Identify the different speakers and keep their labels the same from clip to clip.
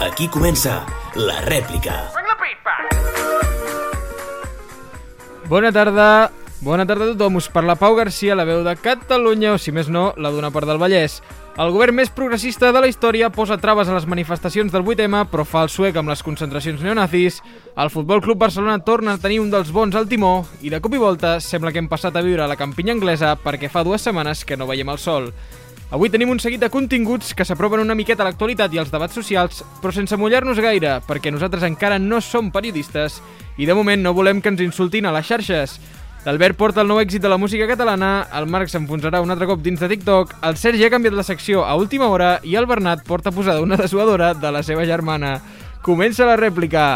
Speaker 1: Aquí comença la rèplica.
Speaker 2: Bona tarda. Bona tarda a tothom. Us parla Pau Garcia, la veu de Catalunya, o si més no, la d'una part del Vallès. El govern més progressista de la història posa traves a les manifestacions del 8M, però fa el suec amb les concentracions neonazis. El Futbol Club Barcelona torna a tenir un dels bons al timó i de cop i volta sembla que hem passat a viure a la campinya anglesa perquè fa dues setmanes que no veiem el sol. Avui tenim un seguit de continguts que s'apropen una miqueta a l'actualitat i als debats socials, però sense mullar-nos gaire, perquè nosaltres encara no som periodistes i de moment no volem que ens insultin a les xarxes. L'Albert porta el nou èxit de la música catalana, el Marc s'enfonsarà un altre cop dins de TikTok, el Sergi ha canviat la secció a última hora i el Bernat porta posada una desuadora de la seva germana. Comença la rèplica!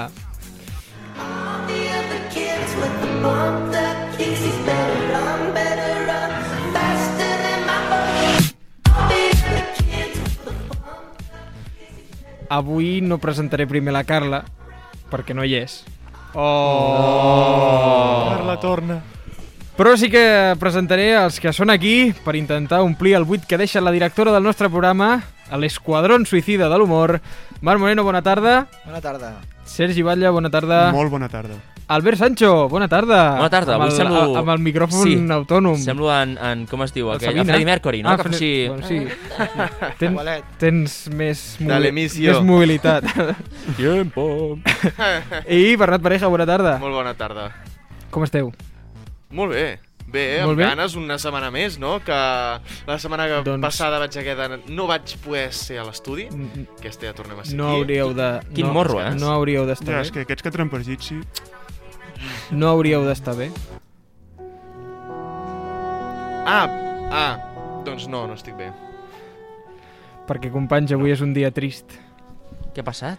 Speaker 2: Avui no presentaré primer la Carla, perquè no hi és. Oh!
Speaker 3: Carla torna.
Speaker 2: Però sí que presentaré els que són aquí per intentar omplir el buit que deixa la directora del nostre programa, l'esquadron suïcida de l'humor. Marc Moreno, bona tarda.
Speaker 4: Bona tarda.
Speaker 2: Sergi Batlle, bona tarda.
Speaker 3: Molt bona tarda.
Speaker 2: Albert Sancho, bona tarda.
Speaker 5: Bona
Speaker 2: Ah,
Speaker 5: tarda,
Speaker 2: Amb
Speaker 5: avui
Speaker 2: el,
Speaker 5: semblo-
Speaker 2: a- Amb el micròfon
Speaker 5: Sí.
Speaker 2: autònom.
Speaker 5: Semblo en, en com es diu?
Speaker 2: El
Speaker 5: Aquell,
Speaker 2: Sabina.
Speaker 5: el Freddie Mercury, no?
Speaker 2: Ah,
Speaker 5: Ah, que
Speaker 2: Fre-
Speaker 5: faci...
Speaker 2: bueno, sí. Tens,
Speaker 4: Igualet.
Speaker 2: tens més,
Speaker 6: De l'emissió.
Speaker 2: més mobilitat.
Speaker 5: Tiempo.
Speaker 2: I Bernat Pareja, bona tarda.
Speaker 6: Molt bona tarda.
Speaker 2: Com esteu?
Speaker 6: Molt bé. Bé, eh?
Speaker 2: Molt
Speaker 6: amb
Speaker 2: bé.
Speaker 6: ganes una setmana més, no? Que la setmana que
Speaker 2: Doncs-
Speaker 6: passada vaig haver de... No vaig poder ser a l'estudi.
Speaker 2: N-
Speaker 6: Aquesta ja tornem a ser
Speaker 2: mm. No
Speaker 6: aquí.
Speaker 2: hauríeu de...
Speaker 5: Quin
Speaker 2: no,
Speaker 5: morro, eh?
Speaker 2: No hauríeu d'estar
Speaker 3: Ja, és
Speaker 2: bé.
Speaker 3: que aquests que trampen sí.
Speaker 2: No hauríeu d'estar bé.
Speaker 6: Ah, ah, doncs no, no estic bé.
Speaker 2: Perquè, companys, avui és un dia trist.
Speaker 5: Què ha passat?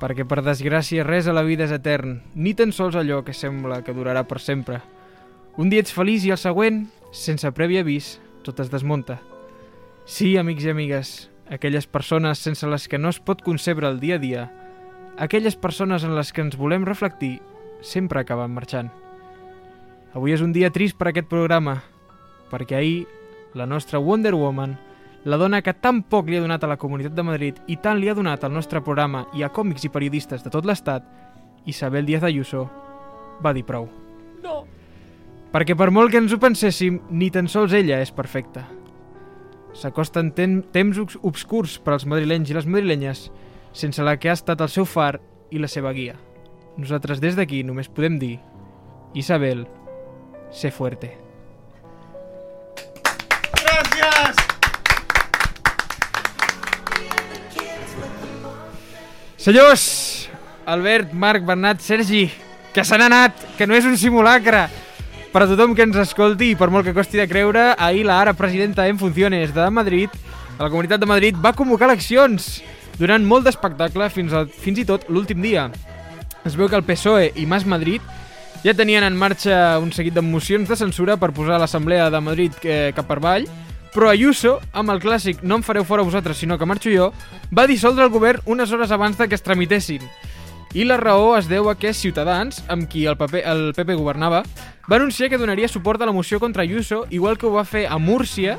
Speaker 2: Perquè, per desgràcia, res a la vida és etern, ni tan sols allò que sembla que durarà per sempre. Un dia ets feliç i el següent, sense previ avís, tot es desmunta. Sí, amics i amigues, aquelles persones sense les que no es pot concebre el dia a dia, aquelles persones en les que ens volem reflectir, sempre acaben marxant. Avui és un dia trist per aquest programa, perquè ahir la nostra Wonder Woman, la dona que tan poc li ha donat a la Comunitat de Madrid i tant li ha donat al nostre programa i a còmics i periodistes de tot l'estat, Isabel Díaz Ayuso, va dir prou. No. Perquè per molt que ens ho penséssim, ni tan sols ella és perfecta. S'acosten ten- temps obs- obscurs per als madrilenys i les madrilenyes, sense la que ha estat el seu far i la seva guia. Nosaltres des d'aquí només podem dir Isabel, sé fuerte.
Speaker 6: Gràcies!
Speaker 2: Senyors, Albert, Marc, Bernat, Sergi, que se n'ha anat, que no és un simulacre. Per a tothom que ens escolti, i per molt que costi de creure, ahir la ara presidenta en funciones de Madrid, a la Comunitat de Madrid, va convocar eleccions, donant molt d'espectacle fins, al, fins i tot l'últim dia. Es veu que el PSOE E i Mas Madrid ja tenien en marxa un seguit de mocions de censura per posar l'Assemblea de Madrid eh, cap per avall, però Ayuso, amb el clàssic no em fareu fora vosaltres sinó que marxo jo, va dissoldre el govern unes hores abans de que es tramitessin. I la raó es deu a que Ciutadans, amb qui el, paper, el PP governava, va anunciar que donaria suport a la moció contra Ayuso, igual que ho va fer a Múrcia,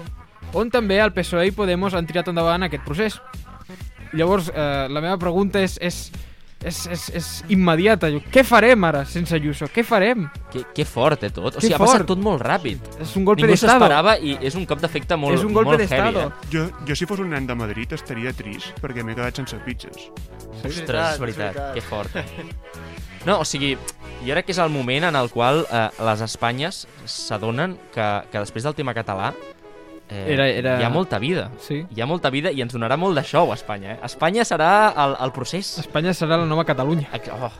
Speaker 2: on també el PSOE E i Podemos han tirat endavant aquest procés. Llavors, eh, la meva pregunta és, és, és, és, és immediata. Jo, Què farem ara sense Ayuso? Què farem?
Speaker 5: Que, que fort, eh, tot. O
Speaker 2: Que
Speaker 5: sigui, ha passat
Speaker 2: fort.
Speaker 5: tot molt ràpid.
Speaker 2: És un golpe
Speaker 5: Ningú
Speaker 2: d'estado.
Speaker 5: s'esperava i és un cop d'efecte molt,
Speaker 2: És un golpe
Speaker 5: molt heavy,
Speaker 2: d'estado.
Speaker 5: eh?
Speaker 3: Jo, jo si fos un nen de Madrid estaria trist perquè m'he quedat sense pizzas.
Speaker 5: Ostres,
Speaker 4: veritat,
Speaker 5: és veritat,
Speaker 4: és
Speaker 5: que fort. No, o sigui, jo crec que és el moment en el qual eh, les Espanyes s'adonen que, que després del tema català eh,
Speaker 2: Era- era-
Speaker 5: hi ha molta vida.
Speaker 2: Sí.
Speaker 5: Hi ha molta vida i ens donarà molt de show a Espanya. Eh? Espanya serà el, el procés.
Speaker 2: Espanya serà la nova Catalunya.
Speaker 5: Ex- Oh,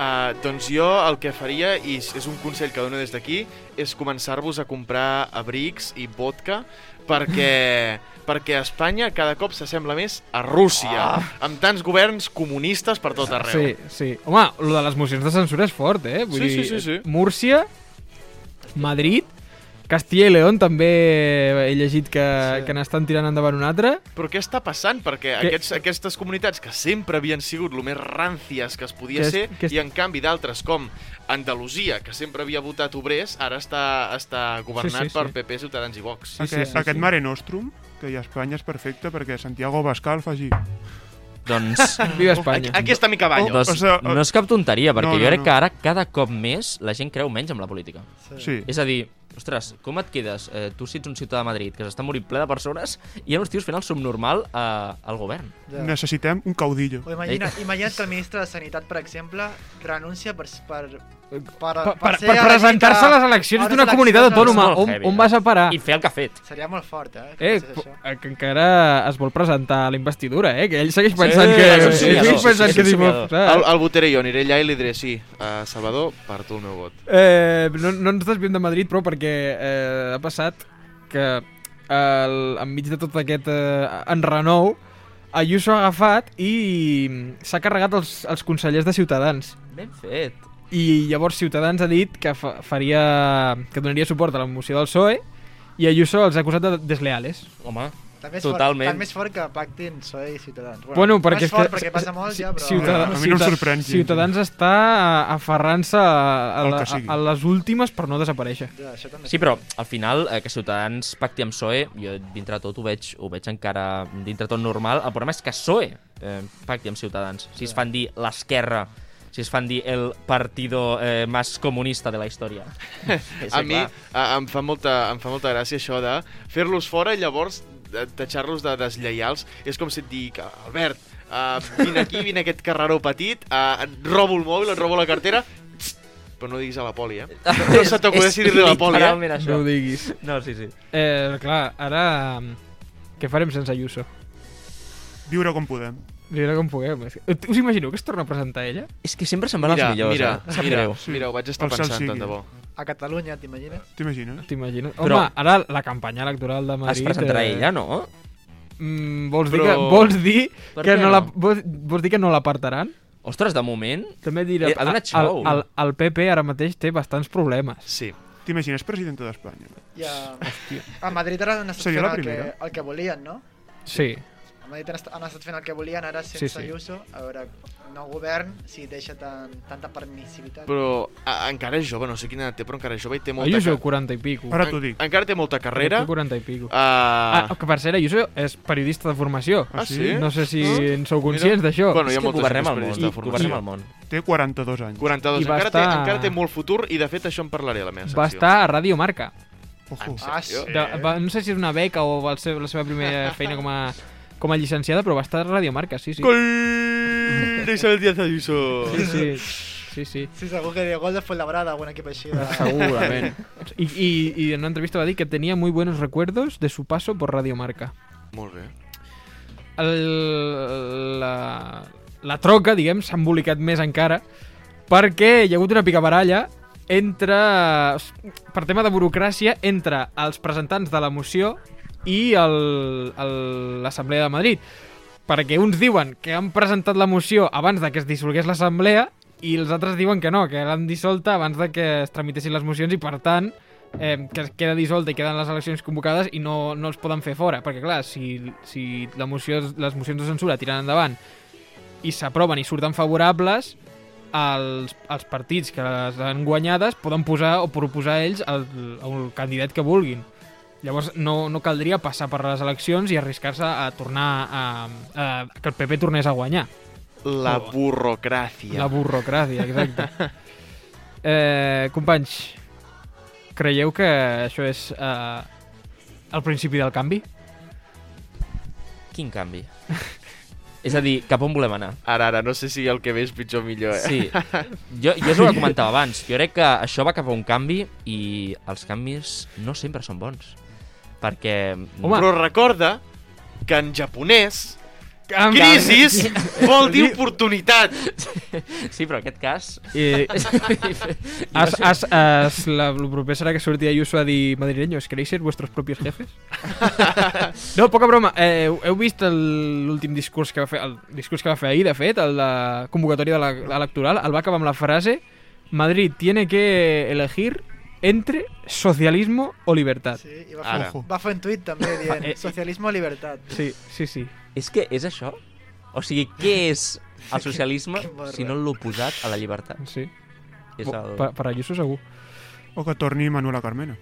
Speaker 6: Uh, doncs jo el que faria, i s- és un consell que dono des d'aquí, és començar-vos a comprar abrics i vodka perquè, perquè Espanya cada cop s'assembla més a Rússia, amb tants governs comunistes per tot arreu.
Speaker 2: Ah. Sí, sí. Home, lo de les mocions de censura és fort, eh? Vull
Speaker 6: Sí,
Speaker 2: dir,
Speaker 6: sí, sí, sí.
Speaker 2: Múrcia, Madrid Castilla i León també he llegit que, sí.
Speaker 5: Sí.
Speaker 2: que n'estan tirant endavant un altre.
Speaker 6: Però què està passant? Perquè
Speaker 2: Que-
Speaker 6: aquests, aquestes comunitats que sempre havien sigut el més ràncies que es podia
Speaker 2: Que és-
Speaker 6: ser,
Speaker 2: que és-
Speaker 6: i en canvi d'altres com Andalusia, que sempre havia votat obrers, ara està, està governat
Speaker 2: Sí, sí,
Speaker 6: sí,
Speaker 2: sí.
Speaker 6: sí, per PP, Ciutadans i Vox.
Speaker 2: Sí,
Speaker 6: Sí,
Speaker 2: sí,
Speaker 3: Aquest,
Speaker 2: sí,
Speaker 3: aquest
Speaker 2: sí.
Speaker 3: Mare Nostrum, que a Espanya és perfecte perquè Santiago Bascal fa així.
Speaker 5: Doncs,
Speaker 2: Viva Espanya.
Speaker 6: Aquí està mi cavall.
Speaker 5: doncs
Speaker 3: o sea,
Speaker 5: no és cap tonteria, perquè
Speaker 3: no,
Speaker 5: jo
Speaker 3: no,
Speaker 5: crec
Speaker 3: no.
Speaker 5: que ara cada cop més la gent creu menys amb la política.
Speaker 3: Sí.
Speaker 5: És a dir, ostres, com et quedes? Eh, tu si ets un ciutadà de Madrid que s'està morint ple de persones i hi ha uns tios fent el subnormal eh, al govern.
Speaker 4: Ja.
Speaker 3: Necessitem un caudillo.
Speaker 4: O imagina, imagina't que el ministre de Sanitat, per exemple, renuncia per, per, per, per,
Speaker 2: Per, per, per presentar-se a les eleccions d'una comunitat autònoma,
Speaker 5: Molt
Speaker 2: on,
Speaker 5: heavy,
Speaker 2: on
Speaker 5: eh?
Speaker 2: vas a parar?
Speaker 5: I fer el que ha fet.
Speaker 4: Seria molt fort, eh? que
Speaker 2: Eh,
Speaker 4: passés
Speaker 2: po-
Speaker 4: això.
Speaker 2: eh, que encara es vol presentar a la investidura, eh? Que ell segueix
Speaker 5: Sí,
Speaker 2: pensant que...
Speaker 5: és
Speaker 2: ell
Speaker 5: un somiador,
Speaker 2: segueix pensant
Speaker 5: és
Speaker 2: que eh".
Speaker 5: un
Speaker 2: és
Speaker 5: somiador.
Speaker 2: clar.
Speaker 6: Al, al votaré jo, aniré allà i li diré sí, a Salvador, per tu el meu vot.
Speaker 2: Eh, no, no ens desviem de Madrid, però perquè eh, ha passat que el, enmig de tot aquest eh, enrenou, Ayuso ha agafat i s'ha carregat els, els consellers de Ciutadans.
Speaker 5: Ben fet.
Speaker 2: I llavors Ciutadans ha dit que fa, faria que donaria suport a la moció del PSOE E i Ayuso els ha acusat de desleales.
Speaker 5: Home,
Speaker 4: També és
Speaker 5: Totalment.
Speaker 4: Fort, tant més fort que pactin PSOE i Ciutadans.
Speaker 2: Bueno, perquè,
Speaker 4: més fort,
Speaker 2: és que,
Speaker 4: perquè passa molt, ja, però...
Speaker 2: Ciutadans,
Speaker 3: A mi no em sorprèn gens.
Speaker 2: Ciutadans està eh, aferrant-se a, a,
Speaker 3: Al
Speaker 2: la-
Speaker 3: que sigui.
Speaker 2: a, les últimes per no desaparèixer.
Speaker 4: Ja, això també.
Speaker 5: Sí, però al final eh, que Ciutadans pacti amb PSOE, jo dintre de tot ho veig, ho veig encara dintre de tot normal. El problema és que PSOE eh, pacti amb Ciutadans. Si es fan dir l'esquerra, si es fan dir el partido eh, más comunista de la història. És
Speaker 6: a mi
Speaker 5: clar.
Speaker 6: a, em, fa molta, em fa molta gràcia això de fer-los fora i llavors de- tatxar-los de deslleials. És com si et dic, Albert, uh, vine aquí, vine a aquest carreró petit, uh, et robo el mòbil, et robo la cartera, Txt, però no diguis a la poli, eh? No se t'acudeix
Speaker 5: És-
Speaker 6: dir-li a la
Speaker 5: és
Speaker 6: poli, eh?
Speaker 5: literalment
Speaker 2: No
Speaker 5: això.
Speaker 2: ho diguis.
Speaker 5: No, sí, sí.
Speaker 2: Eh, clar, ara... mm, Què farem sense Ayuso?
Speaker 3: Viure com podem.
Speaker 2: Viure com puguem. És que- Us imagineu que es torna a presentar ella?
Speaker 5: És que sempre se'n van els millors,
Speaker 6: mira,
Speaker 5: eh? Sap
Speaker 6: mira,
Speaker 5: greu.
Speaker 6: mira, ho vaig estar
Speaker 3: El cel
Speaker 6: pensant, tant
Speaker 3: sigui.
Speaker 6: de bo.
Speaker 4: A Catalunya, t'imagines?
Speaker 3: T'imagines?
Speaker 2: T'imagines? Home,
Speaker 5: Però-
Speaker 2: ara la campanya electoral de Madrid...
Speaker 5: Es presentarà
Speaker 2: eh,
Speaker 5: ella, no?
Speaker 2: Mm, vols, dir
Speaker 6: Però-
Speaker 2: que, vols dir
Speaker 5: Per
Speaker 2: que
Speaker 5: què
Speaker 2: no,
Speaker 5: no?
Speaker 2: la, vols, vols dir que no l'apartaran?
Speaker 5: Ostres, de moment...
Speaker 2: També et diré...
Speaker 5: Eh, ha donat
Speaker 2: el,
Speaker 5: xou.
Speaker 2: el, el PP ara mateix té bastants problemes.
Speaker 6: Sí.
Speaker 3: T'imagines presidenta d'Espanya?
Speaker 4: I a, a Madrid ara han estat
Speaker 3: Seria
Speaker 4: fent
Speaker 3: la
Speaker 4: el que,
Speaker 3: primera.
Speaker 4: el que volien, no?
Speaker 2: Sí.
Speaker 4: A Madrid han estat, han estat fent el que volien, ara sense sí,
Speaker 2: Sí, sí.
Speaker 4: sí. Ayuso. A veure, nou govern, si deixa tan, tanta permissivitat.
Speaker 6: Però a, encara és jove, no sé quina edat té, però encara és jove i té molta...
Speaker 2: Ayuso,
Speaker 6: ca-
Speaker 2: 40 i pico.
Speaker 3: Ara t'ho dic.
Speaker 6: Encara té molta carrera.
Speaker 2: Té 40 i pico.
Speaker 6: Uh,
Speaker 2: Ah, que per cert, Ayuso és periodista de formació.
Speaker 3: Ah, sí?
Speaker 6: sí?
Speaker 2: No sé si
Speaker 6: Ah.
Speaker 2: en sou conscients d'això.
Speaker 6: Bueno, hi
Speaker 5: és
Speaker 6: ha
Speaker 5: que
Speaker 6: molta
Speaker 5: governem
Speaker 6: gent
Speaker 5: el
Speaker 6: que
Speaker 5: món.
Speaker 6: és periodista de formació.
Speaker 5: Governem el món.
Speaker 3: Té 42 anys.
Speaker 6: 42.
Speaker 2: I va
Speaker 6: Encara, té,
Speaker 2: estar-
Speaker 6: encara té molt futur i, de fet, això en parlaré a la meva secció.
Speaker 2: Va estar a Ràdio Marca.
Speaker 3: Ojo.
Speaker 4: Ah,
Speaker 6: sí.
Speaker 2: De, va, no sé si és una beca o va ser la seva primera feina com a, com a llicenciada, però va estar a Radiomarca, sí, sí.
Speaker 6: Gol d'Isabel Díaz Ayuso.
Speaker 2: Sí, sí, sí, sí.
Speaker 4: Sí, segur que gol de Fuenlabrada, algun equip així de...
Speaker 2: Segurament. I, i, I en una entrevista va dir que tenia muy buenos recuerdos de su paso por Radiomarca.
Speaker 6: Molt bé.
Speaker 2: El, la, la troca, diguem, s'ha embolicat més encara perquè hi ha hagut una picabaralla entre, per tema de burocràcia entre els presentants de la moció i el- el- l'Assemblea de Madrid. Perquè uns diuen que han presentat la moció abans de que es dissolgués l'Assemblea i els altres diuen que no, que l'han dissolta abans de que es tramitessin les mocions i, per tant, eh, que es queda dissolta i queden les eleccions convocades i no, no els poden fer fora. Perquè, clar, si, si la moció, les mocions de censura tiren endavant i s'aproven i surten favorables, els, els partits que les han guanyades poden posar o proposar ells el, el candidat que vulguin. Llavors no, no caldria passar per les eleccions i arriscar-se a tornar a, a, que el PP tornés a guanyar.
Speaker 6: La
Speaker 2: Oh.
Speaker 6: burrocràcia.
Speaker 2: La burrocràcia, exacte. eh, companys, creieu que això és eh, el principi del canvi?
Speaker 5: Quin canvi? és a dir, cap on volem anar?
Speaker 6: Ara, ara, no sé si el que ve és pitjor o millor, eh?
Speaker 5: Sí. Jo, jo és el que comentava abans. Jo crec que això va cap a un canvi i els canvis no sempre són bons. Perquè...
Speaker 2: Home.
Speaker 6: Però recorda que en japonès
Speaker 2: Canvi!
Speaker 6: crisis vol dir oportunitat.
Speaker 5: Sí, però en aquest cas...
Speaker 2: Eh, Has, has, has, la, lo proper serà que surti Ayuso a dir madrileños, ¿queréis ser vuestros propios jefes? no, poca broma. Eh, heu- heu vist el- l'últim discurs que va fer, el discurs que va fer ahir, de fet, el de convocatòria de la, electoral, el va acabar amb la frase Madrid tiene que elegir entre socialismo o libertad.
Speaker 4: Sí, i va
Speaker 6: Ara.
Speaker 4: fer, va fer un tuit també dient
Speaker 2: eh, eh.
Speaker 4: socialisme o libertat.
Speaker 2: Sí, sí, sí.
Speaker 5: És que és això? O sigui, què és el socialisme
Speaker 4: Que barra.
Speaker 5: si no l'oposat a la llibertat?
Speaker 2: sí.
Speaker 5: És el...
Speaker 2: Per, per Ayuso segur.
Speaker 3: O que torni Manuela Carmena.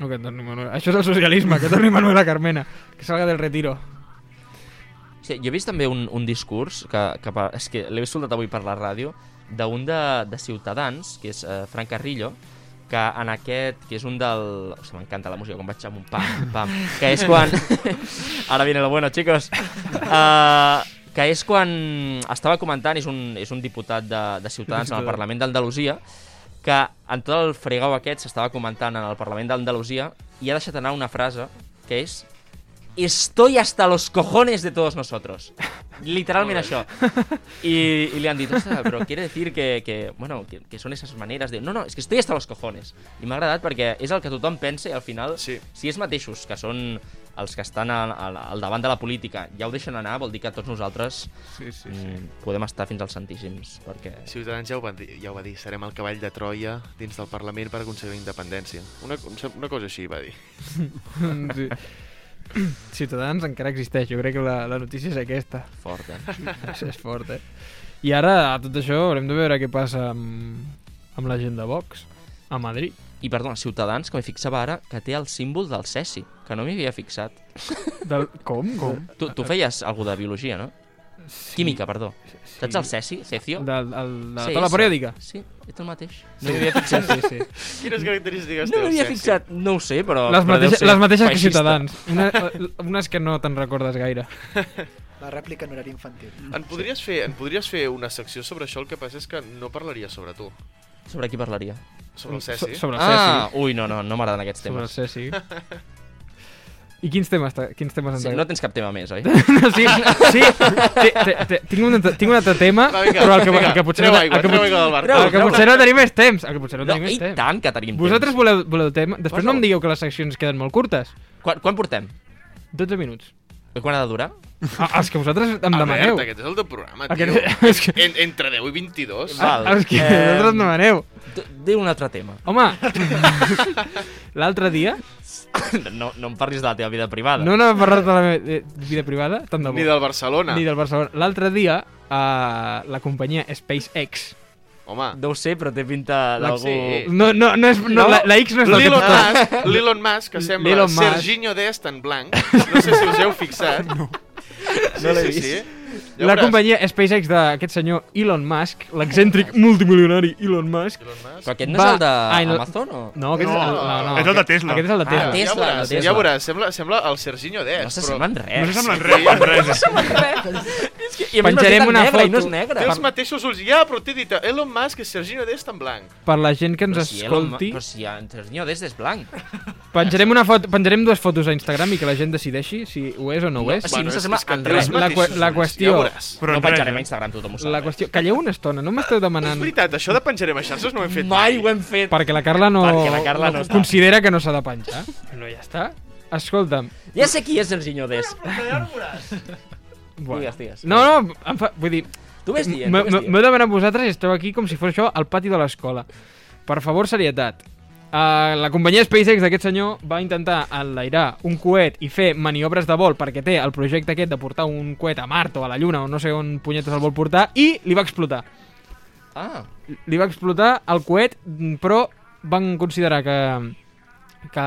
Speaker 2: No, que torni Manuel... Això és el socialisme, que torni Manuela Carmena. Que salga del retiro.
Speaker 5: Sí, jo he vist també un, un discurs que, que per, és que l'he escoltat avui per la ràdio d'un de, de Ciutadans, que és eh, Fran Carrillo, que en aquest, que és un del... O sigui, m'encanta la música, com vaig amb un pam, pam, que és quan... Ara viene lo bueno, chicos. Uh, que és quan estava comentant, és un, és un diputat de, de Ciutadans en el Parlament d'Andalusia, que en tot el fregau aquest s'estava comentant en el Parlament d'Andalusia i ha deixat anar una frase que és Estoy hasta los cojones de todos nosotros. Literalment això. I, I li han dit, "Ostres, però quiere decir que, que, bueno, que, que són esas maneres de... No, no, és que estoy hasta los cojones. I m'ha agradat perquè és el que tothom pensa i al final,
Speaker 6: Sí.
Speaker 5: si ells mateixos, que són els que estan al, al, al davant de la política, ja ho deixen anar, vol dir que tots nosaltres
Speaker 2: Sí, sí,
Speaker 5: mm, podem estar fins als santíssims, perquè...
Speaker 6: Ciutadans ja ho, van dir, ja ho va dir, serem el cavall de Troia dins del Parlament per aconseguir la independència. Una, em sembla- una cosa així va dir.
Speaker 2: Doncs, sí. Ciutadans encara existeix, jo crec que la, la notícia és aquesta.
Speaker 5: Fort, eh?
Speaker 2: És, és fort, eh? I ara, a tot això, haurem de veure què passa amb, amb la gent de Vox a Madrid.
Speaker 5: I perdona, Ciutadans, que m'hi fixava ara, que té el símbol del cesi, que no m'hi havia fixat.
Speaker 2: Del... Com? Com?
Speaker 5: Tu, tu feies algú de biologia, no? Sí. Química, perdó. Sí. Saps el cesi,
Speaker 2: De,
Speaker 5: cecio?
Speaker 2: de, de, de
Speaker 5: Sí,
Speaker 2: tota la
Speaker 5: sí.
Speaker 2: periòdica?
Speaker 5: Sí, és el mateix.
Speaker 2: No m'hi havia fixat. Sí, sí.
Speaker 6: Quines característiques
Speaker 5: No
Speaker 6: té el
Speaker 5: m'havia
Speaker 6: Sergi?
Speaker 5: fixat, no ho sé, però...
Speaker 2: Les,
Speaker 5: però deu
Speaker 2: mateixes,
Speaker 5: ser
Speaker 2: les mateixes que
Speaker 5: feixista.
Speaker 2: Ciutadans. Una, unes que no te'n recordes gaire.
Speaker 4: La rèplica en horari infantil.
Speaker 6: En podries, fer, en podries fer una secció sobre això, el que passa és que no parlaria sobre tu,
Speaker 5: Sobre qui parlaria?
Speaker 6: sobre el
Speaker 2: So-
Speaker 6: Ceci.
Speaker 2: Sobre el
Speaker 5: Ah,
Speaker 2: Ceci.
Speaker 5: ui, no, no, no m'agraden aquests
Speaker 2: Sobre el
Speaker 5: temes.
Speaker 2: Ceci. I quins temes, t'ha- quins temes
Speaker 5: Sí,
Speaker 2: han
Speaker 5: no tens cap tema més, oi?
Speaker 2: No, sí, sí, té, té, té, tinc, un altre, tinc un altre tema,
Speaker 6: Va, vinga,
Speaker 2: però el que,
Speaker 6: vinga,
Speaker 2: el que potser,
Speaker 6: treu
Speaker 2: no, el
Speaker 6: aigua,
Speaker 2: que,
Speaker 6: treu
Speaker 2: pot-
Speaker 6: aigua del barco.
Speaker 5: Treu,
Speaker 2: el que
Speaker 5: treu.
Speaker 2: potser no tenim més temps. El que potser no,
Speaker 5: No,
Speaker 2: tenim
Speaker 5: I
Speaker 2: més temps.
Speaker 5: tant que tenim
Speaker 2: Vosaltres
Speaker 5: temps.
Speaker 2: voleu, voleu tema? Després no em
Speaker 5: Posa-ho.
Speaker 2: digueu que les seccions queden molt curtes.
Speaker 5: Quan, quan portem?
Speaker 2: 12 minuts.
Speaker 5: Quan ha de durar?
Speaker 2: Ah, els que vosaltres em demaneu.
Speaker 6: Albert, aquest és el teu programa, tio.
Speaker 2: Aquest- és que-
Speaker 6: En, entre 10 i 22.
Speaker 5: Ah. Val.
Speaker 2: Els que
Speaker 5: Eh,
Speaker 2: vosaltres em demaneu.
Speaker 5: D- Diu un altre tema.
Speaker 2: Home, l'altre dia...
Speaker 5: No, no em parlis de la teva vida privada.
Speaker 2: No anava a parlar de la meva eh, vida privada, tant de bo.
Speaker 6: Ni del Barcelona.
Speaker 2: Ni del Barcelona. L'altre dia, a la companyia SpaceX...
Speaker 6: Home,
Speaker 5: Deu ser, però té pinta
Speaker 6: La-
Speaker 5: d'algú...
Speaker 6: sí.
Speaker 2: No, no, no és... No,
Speaker 5: No.
Speaker 2: La, la X no és del que
Speaker 6: L'Elon
Speaker 2: porta.
Speaker 6: Musk, l'Elon Musk, que sembla
Speaker 2: L'Elon Musk.
Speaker 6: Serginho Dest en blanc. No sé si us heu fixat. No, sí,
Speaker 5: No l'he
Speaker 6: sí,
Speaker 5: vist.
Speaker 6: Sí. Ja
Speaker 2: La
Speaker 6: veuràs.
Speaker 2: companyia SpaceX d'aquest senyor Elon Musk, l'excèntric multimilionari Elon Musk...
Speaker 6: Elon Musk.
Speaker 5: Però aquest no
Speaker 2: Va,
Speaker 5: és el
Speaker 2: ah, el-
Speaker 5: d'Amazon o...?
Speaker 2: No, aquest és, el, no, no,
Speaker 3: és el de Tesla.
Speaker 2: Aquest és el de Tesla.
Speaker 5: Ah, Tesla,
Speaker 6: ja veuràs,
Speaker 5: Tesla.
Speaker 6: ja veuràs. Sembla, sembla el Serginho Dest.
Speaker 5: No s'assemblen
Speaker 3: No
Speaker 5: res.
Speaker 3: s'assemblen res, en res.
Speaker 5: I a més
Speaker 2: Penjarem
Speaker 5: no és
Speaker 2: una
Speaker 5: negre,
Speaker 2: foto.
Speaker 5: I no és negre.
Speaker 6: Té els mateixos ulls. Ja, però t'he dit, Elon Musk és Serginho Dest en blanc.
Speaker 2: Per la gent que ens
Speaker 5: Però si Elon Mu-
Speaker 2: escolti,
Speaker 5: Però si en Serginho Des és blanc.
Speaker 2: penjarem, una foto, penjarem dues fotos a Instagram i que la gent decideixi si ho és o no ho és.
Speaker 5: o sigui, no s'assembla en
Speaker 6: té
Speaker 5: res.
Speaker 6: els
Speaker 2: La
Speaker 6: mateixos
Speaker 2: que- la
Speaker 6: ulls,
Speaker 2: qüestió-
Speaker 6: Ja veuràs.
Speaker 3: Però
Speaker 5: no
Speaker 3: en res.
Speaker 5: penjarem a Instagram, tothom ho sap.
Speaker 2: La
Speaker 5: eh?
Speaker 2: qüestió... Calleu una estona, no m'esteu
Speaker 6: És
Speaker 2: demanant...
Speaker 6: veritat, això de penjarem a xarxes no ho hem fet
Speaker 5: Mai ho hem fet.
Speaker 2: Perquè la Carla no,
Speaker 5: Perquè la Carla no està.
Speaker 2: considera que no s'ha de penjar. No, Ah. ja està. Escolta'm.
Speaker 5: Ah. Ja sé qui és Serginho Des.
Speaker 2: Bueno.
Speaker 5: Digues, digues.
Speaker 2: No, no, em fa... vull dir,
Speaker 5: Tu ves dient,
Speaker 2: m-
Speaker 5: tu ves
Speaker 2: m-
Speaker 5: dient.
Speaker 2: m'heu demanat vosaltres i esteu aquí com si fos això al pati de l'escola. Per favor, serietat. Uh, la companyia SpaceX d'aquest senyor va intentar enlairar un coet i fer maniobres de vol perquè té el projecte aquest de portar un coet a Mart o a la Lluna o no sé on punyetes el vol portar i li va explotar.
Speaker 5: Ah,
Speaker 2: li va explotar el coet, mm, però van considerar que, que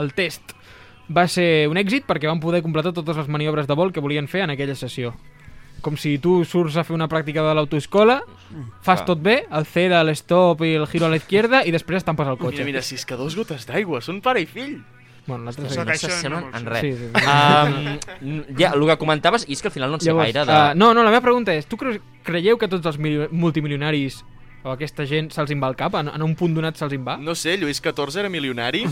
Speaker 2: el test va ser un èxit perquè van poder completar totes les maniobres de vol que volien fer en aquella sessió. Com si tu surts a fer una pràctica de l'autoescola, fas
Speaker 5: Ah.
Speaker 2: tot bé, el C de l'estop i el giro a la izquierda i després estampes el cotxe.
Speaker 6: Mira, mira, si és que dos gotes d'aigua, són pare i fill.
Speaker 2: Bueno, l'altre sí.
Speaker 3: Ostres,
Speaker 5: no
Speaker 3: això
Speaker 5: s'assemblen
Speaker 3: no me'l
Speaker 5: en
Speaker 3: sé.
Speaker 5: res.
Speaker 2: Sí, sí, sí.
Speaker 5: Um, ja, el que comentaves, i és que al final no en sé gaire de...
Speaker 2: eh, no, no, la meva pregunta és, tu creus, creieu que tots els milio- multimilionaris o aquesta gent se'ls en va al cap? En, en un punt donat se'ls en va?
Speaker 6: No sé, Lluís XIV era milionari.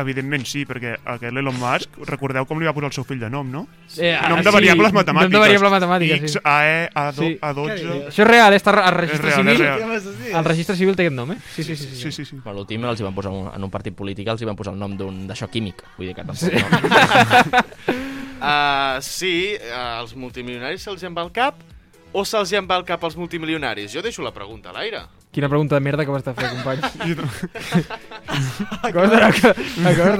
Speaker 3: Evidentment sí, perquè aquest Elon Musk, recordeu com li va posar el seu fill de nom, no?
Speaker 2: Eh, ah,
Speaker 3: Nom
Speaker 2: sí,
Speaker 3: de variables matemàtiques.
Speaker 2: Nom de variable matemàtica,
Speaker 3: X, E,
Speaker 2: sí.
Speaker 3: AE,
Speaker 2: Sí.
Speaker 3: A12...
Speaker 2: Això és real, eh, està al
Speaker 3: És
Speaker 2: registre
Speaker 3: real, és
Speaker 2: civil.
Speaker 3: real.
Speaker 4: Què vas a dir?
Speaker 2: El registre civil té aquest nom, eh? Sí, sí, sí. sí,
Speaker 3: Sí, sí, sí.
Speaker 5: Bueno, l'últim els hi van posar en un- en un partit polític, els hi van posar el nom d'un d'això químic. Vull dir que tampoc... No.
Speaker 6: Uh, sí, uh, els multimilionaris se'ls en va al cap o se'ls en va al cap als multimilionaris? Jo deixo la pregunta a l'aire.
Speaker 2: Quina pregunta de merda que vas de fer, company.
Speaker 3: Jo tam-
Speaker 2: Acabes de, acabes de,
Speaker 4: dir
Speaker 2: fer,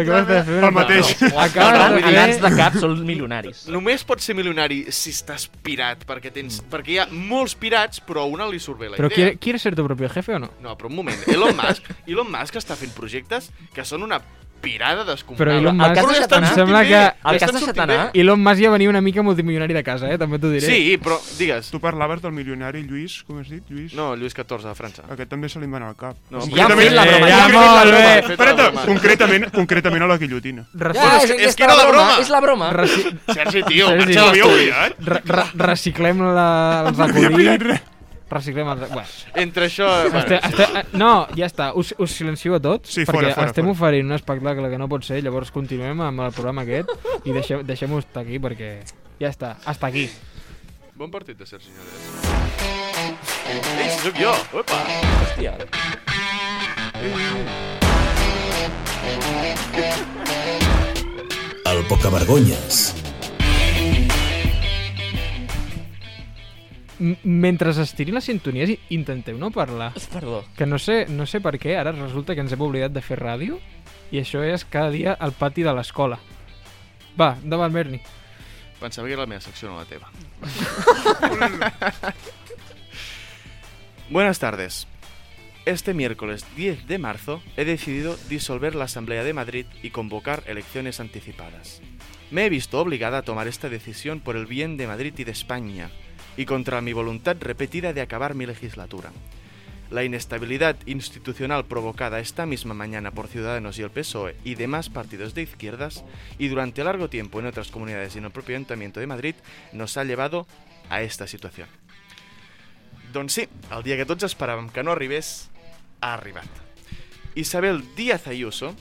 Speaker 2: acabes de fer...
Speaker 3: El mateix.
Speaker 5: No, els
Speaker 2: Acabes de
Speaker 5: grans de
Speaker 2: fer...
Speaker 5: cap són milionaris.
Speaker 6: Només pots ser milionari si estàs pirat, perquè, tens, perquè hi ha molts pirats, però a una li surt bé la
Speaker 2: Però
Speaker 6: idea.
Speaker 2: qui- ¿quieres ser tu propio jefe o no?
Speaker 6: No, però un moment. Elon Musk, Elon Musk està fent projectes que són una pirada descomunal.
Speaker 2: Però Elon Musk-
Speaker 6: Però li
Speaker 5: El que
Speaker 6: estan
Speaker 5: has deixat
Speaker 6: sortint
Speaker 2: anar- Sembla
Speaker 6: bé,
Speaker 5: que- el
Speaker 6: li
Speaker 5: que has
Speaker 6: estan
Speaker 5: deixat
Speaker 6: sortint
Speaker 5: anar-
Speaker 6: bé.
Speaker 2: Elon Musk ja venia una mica multimilionari de casa, eh? També t'ho diré.
Speaker 6: Sí, però digues.
Speaker 3: Tu parlaves del milionari Lluís, com has dit, Lluís?
Speaker 6: No, Lluís XIV de França.
Speaker 3: Aquest també se li va anar al cap.
Speaker 6: No,
Speaker 5: Ja hem fet la broma.
Speaker 2: ja, molt
Speaker 6: Concretament la broma,
Speaker 2: bé.
Speaker 6: he fet la
Speaker 3: Espera't,
Speaker 6: broma.
Speaker 3: concretament, concretament a la guillotina.
Speaker 2: Reci...
Speaker 5: Ja,
Speaker 6: és-
Speaker 5: és,
Speaker 6: és
Speaker 5: és
Speaker 6: que era la broma.
Speaker 5: És la broma.
Speaker 2: Reci...
Speaker 6: Sergi, tio,
Speaker 2: Sergi.
Speaker 3: Ja
Speaker 6: marxa de
Speaker 3: l'havia
Speaker 6: l'estudi.
Speaker 3: oblidat?
Speaker 2: Re -re reciclem la... els acudits. Reciclem els... Bueno,
Speaker 6: Entre això...
Speaker 2: este,
Speaker 6: Bueno,
Speaker 2: este, eh, no, ja està. Us, us silencio a tots
Speaker 3: Sí, fora,
Speaker 2: perquè
Speaker 3: fora,
Speaker 2: estem
Speaker 3: fora.
Speaker 2: oferint un espectacle que no pot ser. Llavors continuem amb el programa aquest i deixem- deixem-ho estar aquí perquè ja està. Hasta aquí.
Speaker 6: bon partit de Sergi Nogués. Ei, si sóc jo! Opa!
Speaker 5: Hòstia.
Speaker 1: El Pocavergonyes.
Speaker 2: M Mentre estirin les sintonies i- intenteu no parlar.
Speaker 5: Perdó.
Speaker 2: Que no sé, no sé per què, ara resulta que ens hem oblidat de fer ràdio i això és cada dia al pati de l'escola. Va, endavant, Berni.
Speaker 6: Pensava que era la meva secció, no la teva. Buenas tardes. Este miércoles 10 de marzo he decidido disolver la Asamblea de Madrid y convocar elecciones anticipadas. Me he visto obligada a tomar esta decisión por el bien de Madrid y de España, y contra mi voluntad repetida de acabar mi legislatura. La inestabilidad institucional provocada esta misma mañana por Ciudadanos y el PSOE E y demás partidos de izquierdas, y durante largo tiempo en otras comunidades y en el propio Ayuntamiento de Madrid, nos ha llevado a esta situación. Doncs sí, el dia que tots esperàvem que no arribés, ha arribat. Isabel Díaz Ayuso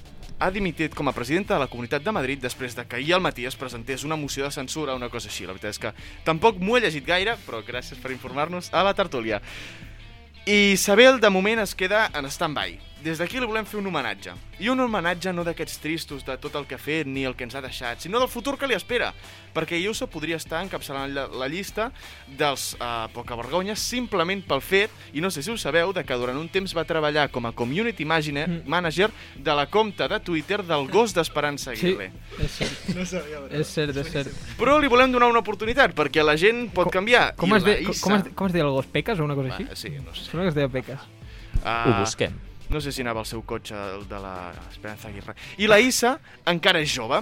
Speaker 6: ha dimitit com a presidenta de la Comunitat de Madrid després de que ahir al matí es presentés una moció de censura o una cosa així. La veritat és que tampoc m'ho he llegit gaire, però gràcies per informar-nos a la tertúlia. I Isabel, de moment, es queda en stand-by. Des d'aquí li volem fer un homenatge. I un homenatge no d'aquests tristos de tot el que ha fet ni el que ens ha deixat, sinó del futur que li espera. Perquè Ayuso podria estar encapçalant la, la llista dels uh, pocavergonyes simplement pel fet, i no sé si ho sabeu, de que durant un temps va treballar com a community imaginer,
Speaker 2: Mm.
Speaker 6: manager de la compta de Twitter del gos d'Esperança Aguirre.
Speaker 2: és cert,
Speaker 4: No sabia, bro.
Speaker 2: és cert, és cert.
Speaker 6: Però li volem donar una oportunitat, perquè la gent pot
Speaker 2: Com-
Speaker 6: canviar.
Speaker 2: Com
Speaker 6: I
Speaker 2: es,
Speaker 6: la
Speaker 2: de, com,
Speaker 6: Isa-
Speaker 2: com, es, com es deia el gos? Peques o una cosa així?
Speaker 6: Ah, sí, no sé.
Speaker 2: Sembla que es deia Peques.
Speaker 6: Ah,
Speaker 5: Ho busquem.
Speaker 6: No sé si anava al seu cotxe, el de la Esperanza Aguirre. I la Issa encara és jove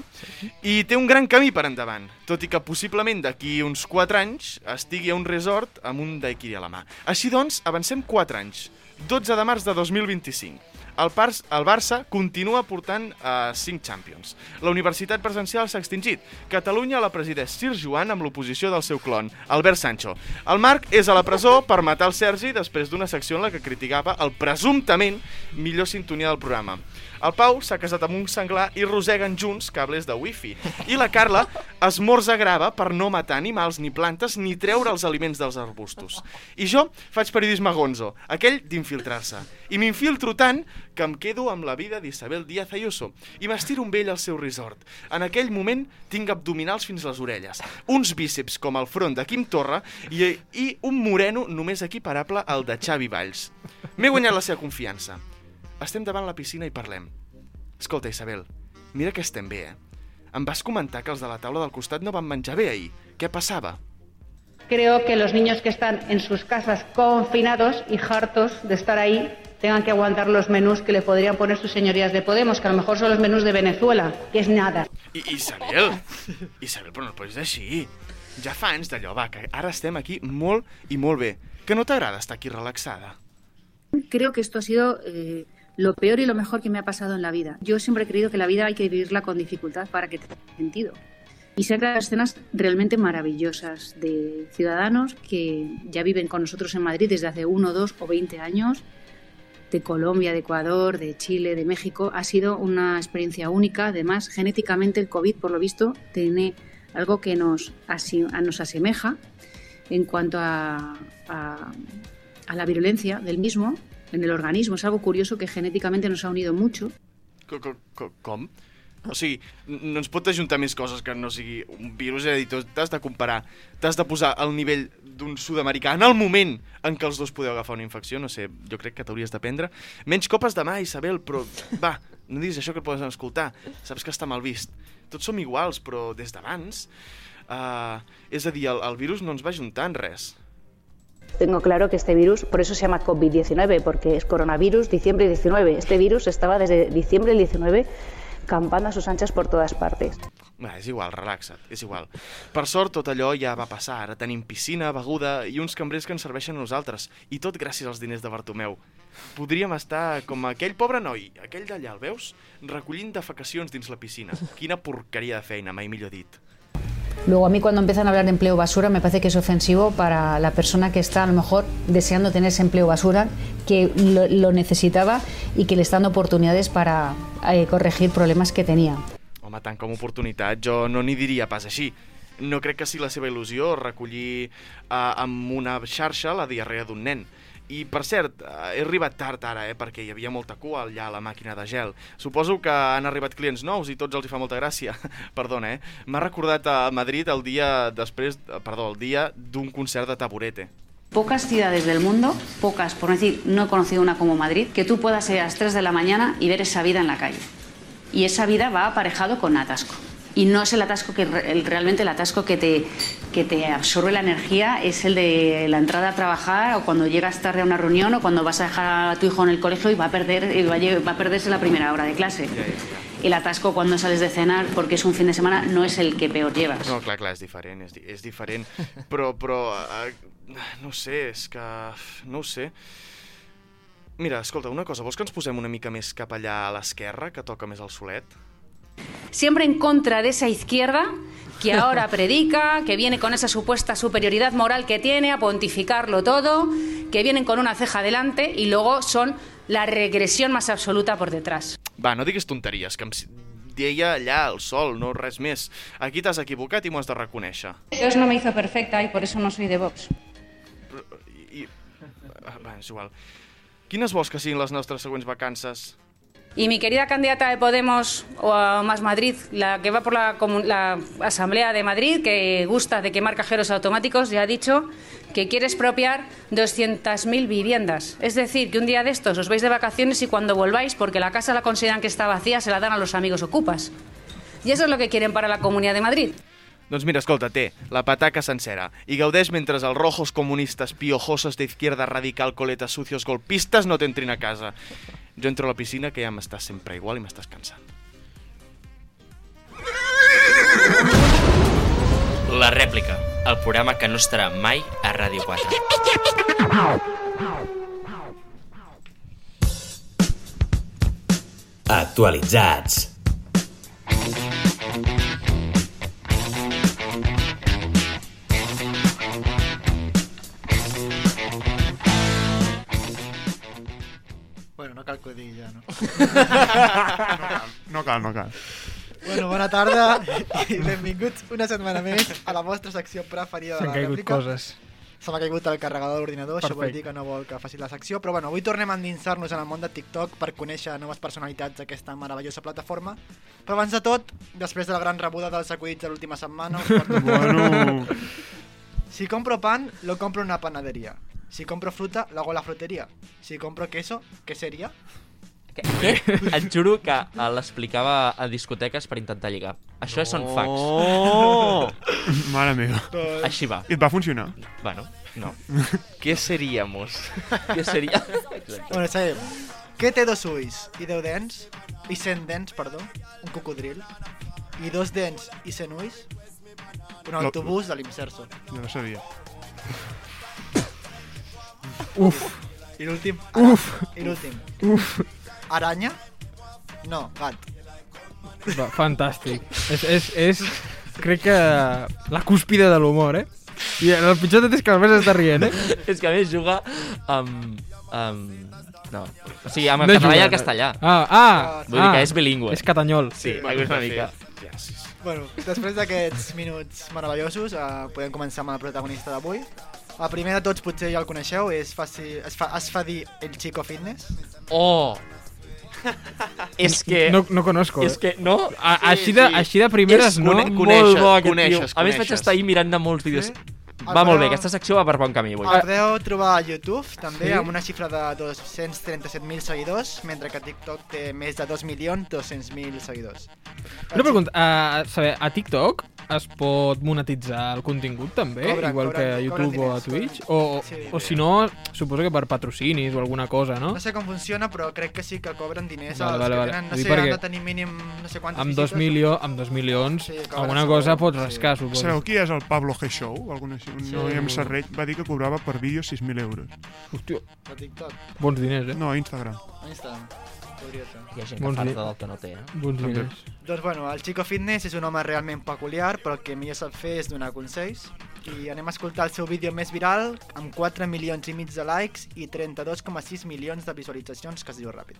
Speaker 6: i té un gran camí per endavant, tot i que possiblement d'aquí uns 4 anys estigui a un resort amb un daiquiri a la mà. Així doncs, avancem 4 anys, 12 de març de 2025. El, Pars, el Barça continua portant a 5 Champions. La universitat presencial s'ha extingit. Catalunya la presideix Sir Joan amb l'oposició del seu clon, Albert Sancho. El Marc és a la presó per matar el Sergi després d'una secció en la que criticava el presumptament millor sintonia del programa. El Pau s'ha casat amb un senglar i roseguen junts cables de wifi. I la Carla esmorza grava per no matar animals ni plantes ni treure els aliments dels arbustos. I jo faig periodisme gonzo, aquell d'infiltrar-se. I m'infiltro tant que em quedo amb la vida d'Isabel Díaz Ayuso i m'estiro amb ell al seu resort. En aquell moment tinc abdominals fins les orelles, uns bíceps com el front de Quim Torra i, i un moreno només equiparable al de Xavi Valls. M'he guanyat la seva confiança. Estem davant la piscina i parlem. Escolta, Isabel, mira que estem bé, eh? Em vas comentar que els de la taula del costat no van menjar bé ahir. Què passava?
Speaker 7: Creo que los niños que están en sus casas confinados y hartos de estar ahí tengan que aguantar los menús que le podrían poner sus señorías de Podemos, que a lo mejor son los menús de Venezuela, que es nada.
Speaker 6: I, Isabel! Isabel, però no et posis així. Ja fa anys d'allò, va, que ara estem aquí molt i molt bé. Que no t'agrada estar aquí relaxada?
Speaker 8: creo que esto ha sido eh, lo peor y lo mejor que me ha pasado en la vida. Yo siempre he creído que la vida hay que vivirla con dificultad para que tenga sentido. Y se han creado escenas realmente maravillosas de ciudadanos que ya viven con nosotros en Madrid desde hace uno, dos o veinte años, de Colombia, de Ecuador, de Chile, de México. Ha sido una experiencia única. Además, genéticamente el COVID, por lo visto, tiene algo que nos, asi- nos asemeja en cuanto a- a, a la virulencia del mismo en el organismo. Es algo curioso que genéticamente nos ha unido mucho.
Speaker 6: Co- co- co- Com? O sigui, n- no ens pot ajuntar més coses que no sigui un virus, és a dir, tu t'has de comparar, t'has de posar al nivell d'un sud-americà en el moment en què els dos podeu agafar una infecció, no sé, jo crec que t'hauries de prendre. Menys copes de mà, Isabel, però va, no diguis això que et poden escoltar, saps que està mal vist. Tots som iguals, però des d'abans... Uh, és a dir, el, el virus no ens va ajuntar en res.
Speaker 9: Tengo claro que este virus, por eso se llama COVID-19, porque es coronavirus diciembre 19. Este virus estaba desde diciembre del 19 campando a sus anchas por todas partes.
Speaker 6: Bé, és igual, relaxa't, és igual. Per sort, tot allò ja va passar. Ara tenim piscina, beguda i uns cambrers que ens serveixen a nosaltres. I tot gràcies als diners de Bartomeu. Podríem estar com aquell pobre noi, aquell d'allà, el veus? Recollint defecacions dins la piscina. Quina porqueria de feina, mai millor dit.
Speaker 10: Luego a mí cuando empiezan a hablar de empleo basura me parece que es ofensivo para la persona que está a lo mejor deseando tener ese empleo basura, que lo, lo necesitaba y que le están dando oportunidades para eh, corregir problemas que tenía.
Speaker 6: Home, tant com oportunitat, jo no n'hi diria pas així. No crec que sigui la seva il·lusió recollir eh, amb una xarxa la diarrea d'un nen. I, per cert, eh, he arribat tard ara, eh, perquè hi havia molta cua allà a la màquina de gel. Suposo que han arribat clients nous i tots els hi fa molta gràcia. Perdona, eh? M'ha recordat a Madrid el dia després, eh, perdó, el dia d'un concert de Taburete.
Speaker 11: Pocas ciudades del mundo, pocas, por no decir, no he conocido una como Madrid, que tú puedas ir a las 3 de la mañana y ver esa vida en la calle. Y esa vida va aparejado con atasco. Y no es el atasco que re- el- realmente el atasco que te, que te absorbe la energía, es el de la entrada a trabajar o cuando llegas tarde a una reunión o cuando vas a dejar a tu hijo en el colegio y va a, perder, y va a lle- va a perderse la primera hora de clase. El atasco cuando sales de cenar porque es un fin de semana no es el que peor llevas.
Speaker 6: No, clar, clar, és diferent, és, di és diferent. Però, però, eh, no ho sé, és que... No ho sé. Mira, escolta, una cosa, vols que ens posem una mica més cap allà a l'esquerra, que toca més el solet?
Speaker 11: siempre en contra de esa izquierda que ahora predica, que viene con esa supuesta superioridad moral que tiene a pontificarlo todo, que vienen con una ceja delante y luego son la regresión más absoluta por detrás.
Speaker 6: Va, no diguis tonteries, que em s- deia allà al sol, no res més. Aquí t'has equivocat i m'ho has de reconèixer.
Speaker 12: Dios no me hizo perfecta y por eso no soy de Vox.
Speaker 6: I... ah, Va, és igual. Quines vols que siguin les nostres següents vacances?
Speaker 11: Y mi querida candidata de Podemos o a Más Madrid, la que va por la, comun- la Asamblea de Madrid, que gusta de quemar cajeros automáticos, ya ha dicho que quiere expropiar 200.000 viviendas. Es decir, que un día de estos os vais de vacaciones y cuando volváis, porque la casa la consideran que está vacía, se la dan a los amigos ocupas. Y eso es lo que quieren para la Comunidad de Madrid.
Speaker 6: Doncs mira, escolta, té, la pataca sencera. I gaudeix mentre els rojos comunistes piojosos de izquierda radical coletas sucios golpistes no t'entrin a casa. Jo entro a la piscina, que ja m'estàs sempre igual i m'estàs cansant.
Speaker 5: La rèplica, el programa que no estarà mai a Ràdio 4.
Speaker 1: Actualitzats.
Speaker 4: Bueno, no cal que ho digui ja, no?
Speaker 3: No cal, no cal.
Speaker 4: Bueno, bona tarda i benvinguts una setmana més a la vostra secció preferida de
Speaker 2: S'han
Speaker 4: la
Speaker 2: caigut
Speaker 4: rèplica.
Speaker 2: coses.
Speaker 4: Se m'ha caigut el carregador de l'ordinador, això vol
Speaker 2: Perfecte.
Speaker 4: dir que no vol que faci la secció, però bueno, avui tornem a endinsar-nos en el món de TikTok per conèixer noves personalitats d'aquesta meravellosa plataforma. Però abans de tot, després de la gran rebuda dels acudits de l'última setmana, us porto...
Speaker 3: Bueno...
Speaker 4: Si compro pan, lo compro en una panadería. Si compro fruta, lo hago en la frutería. Si compro queso, ¿qué sería?
Speaker 5: Et juro que eh, l'explicava a discoteques per intentar lligar. Això són facts.
Speaker 6: Oh!
Speaker 3: Mare meva.
Speaker 5: Doncs- Així va.
Speaker 3: I et va funcionar?
Speaker 5: Bueno, no.
Speaker 6: Què seríamos?
Speaker 5: Què seria?
Speaker 4: Bueno, sabem. Què té dos ulls i deu dents? I cent dents, perdó. Un cocodril. I dos dents i cent ulls? Un
Speaker 3: No.
Speaker 4: autobús de l'Imserso.
Speaker 3: Jo no sabia.
Speaker 4: I l'últim... Uf! I l'últim. Uf! Aranya? No, gat.
Speaker 2: Va, fantàstic. És, és, és, crec que, la cúspide de l'humor, eh? I el pitjor de tot és que el Bes està rient, eh?
Speaker 5: És que a més juga amb... amb... No. O sigui, amb el
Speaker 2: No
Speaker 5: català i
Speaker 2: juga,
Speaker 5: el
Speaker 2: no.
Speaker 5: castellà.
Speaker 2: Ah, ah!
Speaker 5: Vull dir
Speaker 2: ah,
Speaker 5: que és bilingüe.
Speaker 2: És catanyol.
Speaker 5: Sí, una mica.
Speaker 6: Gràcies.
Speaker 4: Bueno, després d'aquests minuts meravellosos, eh, podem començar amb el protagonista d'avui. El primer de tots potser ja el coneixeu, és faci, es, fa, es fa dir El Chico Fitness.
Speaker 5: Oh! És que...
Speaker 2: No, no conozco.
Speaker 5: És que no,
Speaker 2: A, així, de, així de primeres, no?
Speaker 5: Molt bo aquest tio. A més, vaig estar ahir mirant de molts vídeos. Va
Speaker 4: El
Speaker 5: molt
Speaker 4: meu-
Speaker 5: bé, aquesta secció va per bon camí avui.
Speaker 4: El podeu trobar a YouTube, també,
Speaker 5: Sí?
Speaker 4: amb una xifra de 237.000 seguidors, mentre que TikTok té més de 2.200.000 seguidors.
Speaker 2: Una pregunta, a, a saber, a TikTok es pot monetitzar el contingut també?
Speaker 4: Cobren,
Speaker 2: igual que a
Speaker 4: cobren-
Speaker 2: YouTube
Speaker 4: cobren
Speaker 2: o a
Speaker 4: diners,
Speaker 2: Twitch?
Speaker 4: cobren.
Speaker 2: O,
Speaker 4: Sí.
Speaker 2: o si no, suposo que per patrocinis o alguna cosa, no?
Speaker 4: No sé com funciona, però crec que sí que cobren diners
Speaker 2: Vale,
Speaker 4: als
Speaker 2: vale,
Speaker 4: que
Speaker 2: vale.
Speaker 4: tenen,
Speaker 2: Ho
Speaker 4: no
Speaker 2: dic
Speaker 4: sé,
Speaker 2: perquè
Speaker 4: han de tenir mínim no sé quantes
Speaker 2: Amb dos,
Speaker 4: visites.
Speaker 2: milió, amb dos milions,
Speaker 4: Sí, cobren
Speaker 2: alguna
Speaker 4: segur,
Speaker 2: cosa pots rascar, suposo.
Speaker 3: Sabeu qui és el Pablo G. Show? Algun així, un
Speaker 2: Sí.
Speaker 3: noi amb serrell va dir que cobrava per vídeo 6.000 euros.
Speaker 2: Hòstia.
Speaker 4: A TikTok.
Speaker 2: Bons diners, eh?
Speaker 3: No, a Instagram.
Speaker 4: A Instagram. Podria ser.
Speaker 5: Hi ha gent
Speaker 2: Bons
Speaker 5: que
Speaker 2: di-
Speaker 5: farta del que no té, eh?
Speaker 2: Bons
Speaker 5: També.
Speaker 2: diners.
Speaker 4: Doncs bueno, el Chico Fitness és un home realment peculiar, però el que millor sap fer és donar consells. I anem a escoltar el seu vídeo més viral, amb 4 milions i mig de likes i 32,6 milions de visualitzacions, que es diu ràpid.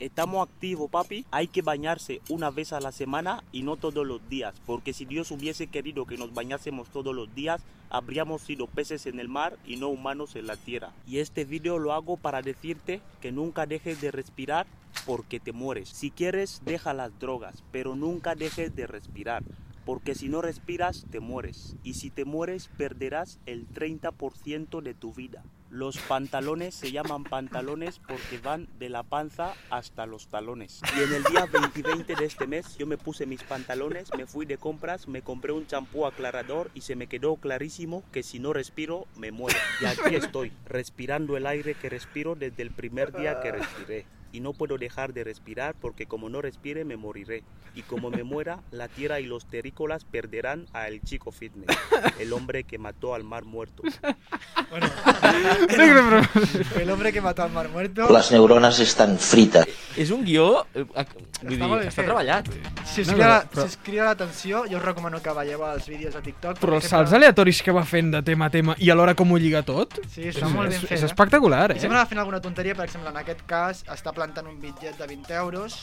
Speaker 13: Estamos activos, papi. Hay que bañarse una vez a la semana y no todos los días. Porque si Dios hubiese querido que nos bañásemos todos los días, habríamos sido peces en el mar y no humanos en la tierra. Y este video lo hago para decirte que nunca dejes de respirar porque te mueres. Si quieres, deja las drogas, pero nunca dejes de respirar. Porque si no respiras, te mueres. Y si te mueres, perderás el 30% de tu vida. Los pantalones se llaman pantalones porque van de la panza hasta los talones. Y en el día 20 y 20 de este mes yo me puse mis pantalones, me fui de compras, me compré un champú aclarador y se me quedó clarísimo que si no respiro me muero. Y aquí estoy, respirando el aire que respiro desde el primer día que respiré. Y no puedo dejar de respirar porque como no respire me moriré. Y como me muera, la tierra y los terrícolas perderán a El Chico Fitness, el hombre que mató al mar muerto.
Speaker 4: El hombre que mató al mar muerto.
Speaker 14: Las neuronas están fritas.
Speaker 5: És un guió... eh, ac-
Speaker 4: Està
Speaker 5: Vull dir,
Speaker 4: molt ben
Speaker 5: està
Speaker 4: fet.
Speaker 5: treballat.
Speaker 4: Si us, crida, la- si us crida l'atenció, jo us recomano que veieu els vídeos a TikTok.
Speaker 2: Però els
Speaker 4: perquè
Speaker 2: salts aleatoris que va fent de tema a tema i alhora com ho lliga tot,
Speaker 4: Sí, està molt ben
Speaker 2: és,
Speaker 4: fet,
Speaker 2: és
Speaker 4: eh?
Speaker 2: espectacular,
Speaker 4: I
Speaker 2: eh?
Speaker 4: Sembla que va fent alguna tonteria, per exemple, en aquest cas, està plantant un bitllet de 20 euros.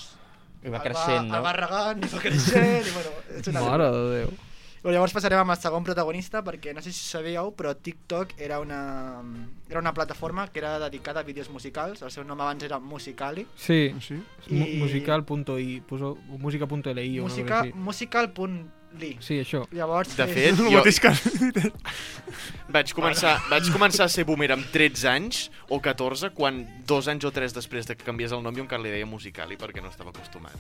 Speaker 5: I va
Speaker 4: el
Speaker 5: creixent, no?
Speaker 4: El va regant, i va creixent, i bueno... És una
Speaker 2: Mare de Déu.
Speaker 4: Bueno, llavors passarem amb el segon protagonista, perquè no sé si sabíeu, però TikTok era una, era una plataforma que era dedicada a vídeos musicals. El seu nom abans era Musicali.
Speaker 2: Sí,
Speaker 3: sí.
Speaker 4: I-
Speaker 2: musical.i, poso musica.li o
Speaker 4: Musica,
Speaker 2: Musica...
Speaker 4: musical.li.
Speaker 2: Sí, això.
Speaker 4: Llavors,
Speaker 6: De
Speaker 4: és-
Speaker 6: fet, vaig, començar, vaig començar a ser boomer amb 13 anys o 14, quan dos anys o tres després de que canviés el nom jo encara li deia Musicali perquè no estava acostumat.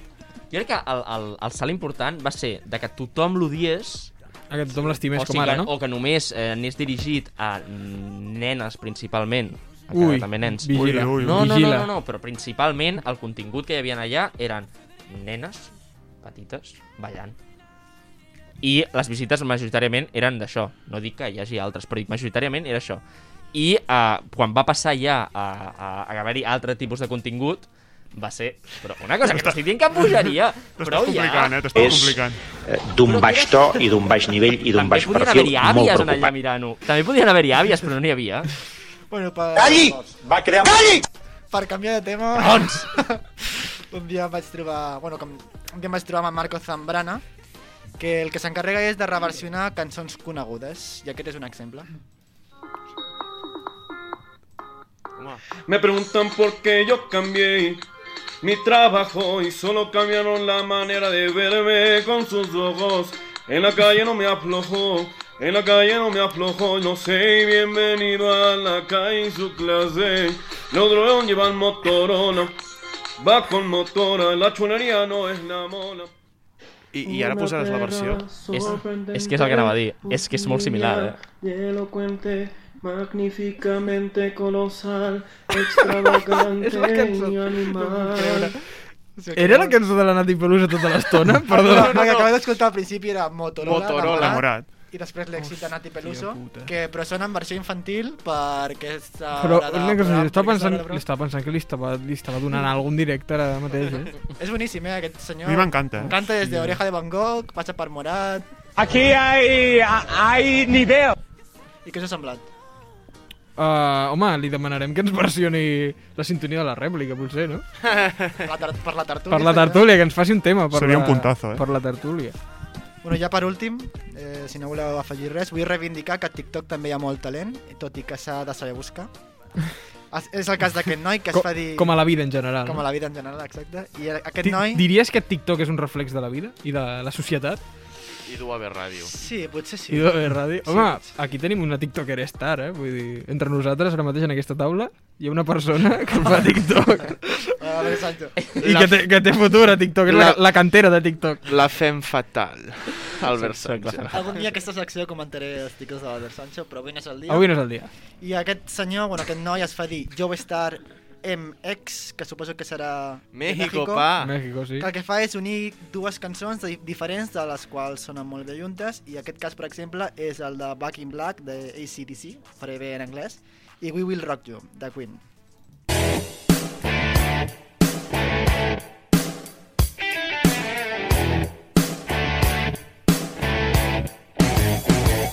Speaker 5: Jo crec que el, el, el salt important va ser de que tothom l'odiés
Speaker 2: A que tothom l'estimés
Speaker 5: o
Speaker 2: com ara,
Speaker 5: que,
Speaker 2: no?
Speaker 5: O que només eh, anés dirigit a nenes principalment.
Speaker 2: Ui,
Speaker 5: Encara també nens.
Speaker 2: vigila, Ui, ui, ui.
Speaker 5: No, no, no,
Speaker 2: vigila.
Speaker 5: no, no, però principalment el contingut que hi havia allà eren nenes petites ballant. I les visites majoritàriament eren d'això. No dic que hi hagi altres, però dic majoritàriament era això. I eh, quan va passar ja a, a, a haver-hi altre tipus de contingut, va ser... Però una cosa, que t'estic dient que pujaria! Prou ja!
Speaker 2: eh,
Speaker 15: eh, d'un baix to i d'un baix nivell i d'un baix
Speaker 5: Podien
Speaker 15: perfil
Speaker 5: haver-hi
Speaker 15: molt
Speaker 5: àvies en allà
Speaker 15: preocupant.
Speaker 5: mirant-ho. També podien haver-hi àvies, però no n'hi havia.
Speaker 4: Bueno, per...
Speaker 15: Calli!
Speaker 4: Va crear... Calli! Per canviar de tema... Doncs! un dia em vaig trobar... Bueno, com... un dia em vaig trobar amb en Marco Zambrana, que el que s'encarrega és de reversionar cançons conegudes, i aquest és un exemple.
Speaker 16: Me preguntan por qué yo cambié mi trabajo y solo cambiaron la manera de verme con sus ojos. En la calle no me aflojó, en la calle no me aflojó. No sé, bienvenido a la calle y su clase. Los drones llevan Motorola, va con Motora, la chulería no es la mona.
Speaker 6: I, i ara posaràs la versió?
Speaker 5: És, és que és el que anava a dir. És que és molt similar, eh?
Speaker 16: Y elocuente, magníficamente colosal, extravagante
Speaker 2: És la cançó.
Speaker 16: y animal.
Speaker 2: Era la cançó de la Nati Pelusa tota l'estona? Perdona.
Speaker 4: No, no, no, que acabeu d'escoltar al principi era Motorola,
Speaker 2: Motorola.
Speaker 4: d'Amarat,
Speaker 2: Enamorat.
Speaker 4: i després l'èxit de Nati Peluso, que però sona en versió infantil perquè és
Speaker 2: Però una cosa, li estava, pensant,
Speaker 4: programa.
Speaker 2: li estava pensant que li estava, li estava donant algun directe ara mateix, eh?
Speaker 4: És boníssim, eh, aquest senyor.
Speaker 2: A mi m'encanta.
Speaker 4: Canta des de
Speaker 2: Sí.
Speaker 4: Oreja de Van Gogh, passa per Morat...
Speaker 2: Aquí hay- hay
Speaker 4: nivel! I què us ha semblat?
Speaker 2: Uh, home, li demanarem que ens versioni la sintonia de la rèplica, potser, no?
Speaker 4: per, la tar- per la tertúlia.
Speaker 2: Per la
Speaker 4: també.
Speaker 2: tertúlia, que ens faci un tema. Per
Speaker 3: Seria
Speaker 2: la,
Speaker 3: un puntazo, eh?
Speaker 2: Per la tertúlia.
Speaker 4: Bueno, ja per últim, eh, si no voleu afegir res, vull reivindicar que a TikTok també hi ha molt talent, tot i que s'ha de saber buscar. Es- És el cas d'aquest noi que es
Speaker 2: Co-
Speaker 4: fa dir...
Speaker 2: com a la vida en general,
Speaker 4: Com
Speaker 2: no?
Speaker 4: a la vida en general, exacte. I a- aquest
Speaker 2: Di-
Speaker 4: noi...
Speaker 2: Diries que TikTok és un reflex de la vida i de la societat?
Speaker 6: I du a ver ràdio.
Speaker 4: Sí, potser sí.
Speaker 2: I de la ràdio. Home, aquí tenim una TikToker estar, eh? Vull dir, entre nosaltres ara mateix en aquesta taula hi ha una persona que fa TikTok.
Speaker 4: A veure, Sancho.
Speaker 2: I que té, que té futur a TikTok. És la,
Speaker 6: La-
Speaker 2: la cantera de TikTok.
Speaker 6: La fem fatal, Albert Sánchez.
Speaker 4: Doncs, eh, Algun dia aquesta secció comentaré els tics de l'Albert Sancho, però avui no és el dia.
Speaker 2: Avui no és el dia.
Speaker 4: I aquest senyor, bueno, aquest noi es fa dir Joestar MX, que suposo que serà... de
Speaker 6: México, pa.
Speaker 2: México, sí.
Speaker 4: Que el que fa és unir dues cançons de, diferents de les quals sonen molt bé juntes, i aquest cas, per exemple, és el de Back in Black, de ACDC, faré bé en anglès, i We Will Rock You, de Queen.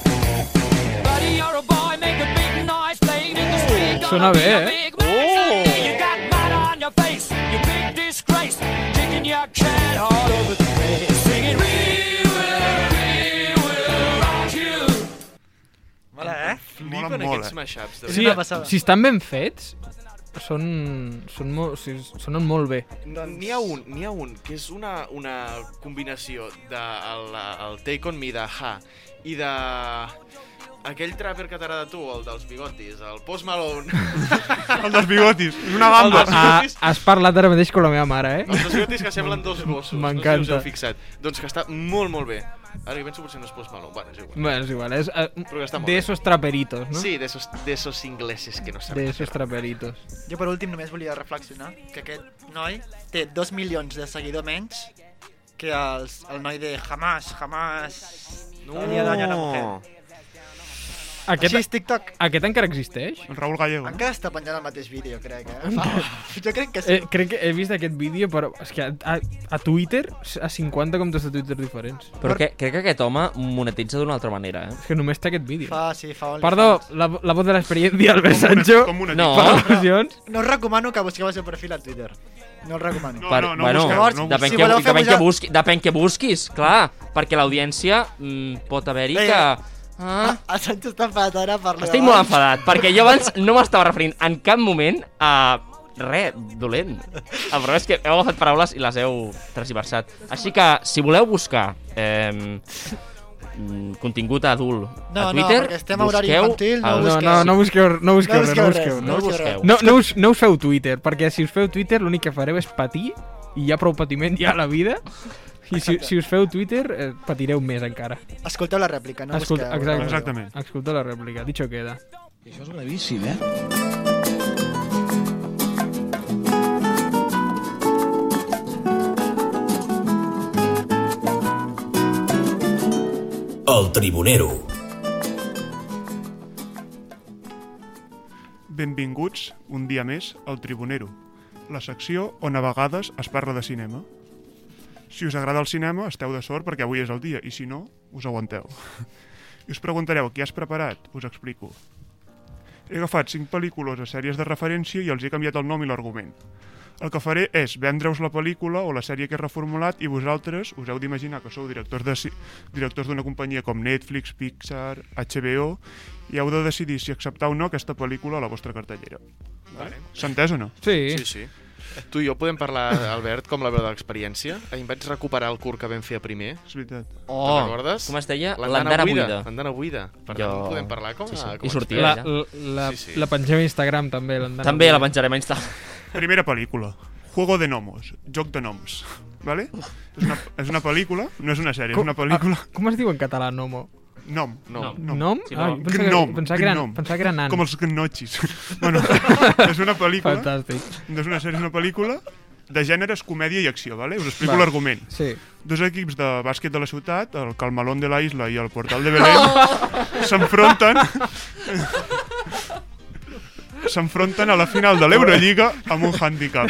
Speaker 17: Buddy, you're a boy, make a big noise, playing in the street. Gonna
Speaker 2: Suena
Speaker 17: be
Speaker 2: bé,
Speaker 17: a
Speaker 2: eh?
Speaker 17: big man someday. You got mud on your face, you big disgrace, kicking your cat all over the place. Singing, we will, we will rock you.
Speaker 4: Mola, eh?
Speaker 6: Flipen
Speaker 4: Mola
Speaker 6: aquests
Speaker 4: molt, eh?
Speaker 6: mashups.
Speaker 2: Sí, si estan ben fets, són, són molt, sí, sonen molt bé.
Speaker 6: N'hi ha un, n'hi ha un, que és una, una combinació de el, el Take On Me de Ha i de... Aquell trapper que t'agrada a tu, el dels bigotis, el Post Malone.
Speaker 3: El dels bigotis, és una gamba.
Speaker 6: El dels bigotis,
Speaker 2: Ah, has parlat ara mateix amb la meva mare, eh?
Speaker 6: els dos bigotis que semblen dos gossos. No sé si us
Speaker 2: M'encanta.
Speaker 6: heu fixat. Doncs que està molt, molt bé. Ara que penso potser no és Post Malone. Bueno, és igual.
Speaker 2: Bueno, és igual, és, eh,
Speaker 6: Però que està molt
Speaker 2: de
Speaker 6: bé.
Speaker 2: esos traperitos, no?
Speaker 6: Sí, de esos, de esos ingleses que no saben.
Speaker 2: De esos traperitos.
Speaker 4: Jo per últim només volia reflexionar que aquest noi té 2 milions de seguidor menys que els, el noi de jamás, jamás...
Speaker 6: No.
Speaker 4: Haría daño a la mujer.
Speaker 2: Aquest,
Speaker 4: Oh. Així és TikTok.
Speaker 2: Aquest encara existeix?
Speaker 3: El Raúl Gallego.
Speaker 4: Encara està penjant el mateix vídeo, crec, eh? Fa- jo crec que sí.
Speaker 2: Eh, crec que he vist aquest vídeo, però és que a, a, a Twitter, a 50 comptes de Twitter diferents.
Speaker 5: Però que, crec que aquest home monetitza d'una altra manera, eh?
Speaker 2: És que només té aquest vídeo.
Speaker 4: Fa, sí, fa OnlyFans.
Speaker 2: Perdó, la, la voz de l'experiència, Albert Sancho.
Speaker 5: No.
Speaker 2: Per al·lusions.
Speaker 4: No us recomano que busqueu el seu perfil a Twitter. No el recomano.
Speaker 5: Per- bueno, depèn, que,
Speaker 4: voleu fer
Speaker 5: depèn, que
Speaker 4: pujar-
Speaker 5: busqui, depèn que busquis, clar, perquè l'audiència mm, pot haver-hi que...
Speaker 4: Ah. El Sancho està enfadat ara per la...
Speaker 5: Estic molt enfadat, perquè jo abans no m'estava referint en cap moment a res dolent. El problema és que heu agafat paraules i les heu transversat. Així que, si voleu buscar eh, contingut adult
Speaker 4: No, no,
Speaker 5: a Twitter,
Speaker 4: perquè estem a horari infantil, no
Speaker 5: el-
Speaker 2: No, no, no busqueu, no busqueu, res, no busqueu,
Speaker 5: res, no busqueu.
Speaker 2: No, no, us, no us feu Twitter, perquè si us feu Twitter l'únic que fareu és patir, i hi ha prou patiment ja a la vida, i si, si us feu Twitter eh, patireu més encara.
Speaker 4: Escolteu la rèplica, no
Speaker 2: Escolta,
Speaker 4: busqueu. eh?
Speaker 2: exacte, exactament. Escolta la rèplica, dicho queda.
Speaker 14: Això és gravíssim, eh?
Speaker 1: El Tribunero.
Speaker 3: Benvinguts, un dia més, al Tribunero, la secció on a vegades es parla de cinema. Si us agrada el cinema, esteu de sort perquè avui és el dia, i si no, us aguanteu. I us preguntareu què has preparat? Us explico. He agafat cinc pel·lícules a sèries de referència i els he canviat el nom i l'argument. El que faré és vendre-us la pel·lícula o la sèrie que he reformulat i vosaltres us heu d'imaginar que sou directors de ci- directors d'una companyia com Netflix, Pixar, HBO i heu de decidir si acceptar o no aquesta pel·lícula a la vostra cartellera.
Speaker 6: Vale.
Speaker 3: S'ha entès o no?
Speaker 6: Sí, sí. Tu i jo podem parlar, Albert, com la veu de l'experiència? Ahir em vaig recuperar el curt que vam fer a primer.
Speaker 3: És veritat.
Speaker 5: Oh,
Speaker 6: Te'n recordes?
Speaker 5: com es deia?
Speaker 6: L'andana
Speaker 5: L'andana
Speaker 6: buida.
Speaker 5: buida.
Speaker 6: L'andana buida. Per tant,
Speaker 5: Jo-
Speaker 6: en podem parlar com a...
Speaker 5: Sí, sí.
Speaker 6: Com
Speaker 5: I sortia
Speaker 2: La,
Speaker 5: ja.
Speaker 2: la, la, la pengem a Instagram també. l'Andana
Speaker 5: També la
Speaker 2: Buida.
Speaker 5: penjarem a Instagram.
Speaker 3: Primera pel·lícula. Juego de Nomos. Joc de noms. Vale? És una, és una pel·lícula, no és una sèrie, és una pel·lícula...
Speaker 2: Ah, com es diu en català, Nomo?
Speaker 3: Nom.
Speaker 2: Nom. Nom?
Speaker 3: Sí,
Speaker 2: Ah,
Speaker 3: nom.
Speaker 2: jo pensava que-
Speaker 3: Gnom.
Speaker 2: pensava que eren-
Speaker 3: Gnom.
Speaker 2: pensava que eren nans.
Speaker 3: Com els gnocchis. bueno, és una pel·lícula...
Speaker 2: Fantàstic.
Speaker 3: No és una sèrie, és una pel·lícula de gèneres, comèdia i acció, vale? Us explico
Speaker 2: Va.
Speaker 3: l'argument.
Speaker 2: Sí.
Speaker 3: Dos equips de bàsquet de la ciutat, el Calmalón de la Isla i el Portal de
Speaker 2: Oh!
Speaker 3: Belém, s'enfronten... s'enfronten a la final de l'Eurolliga amb un hàndicap.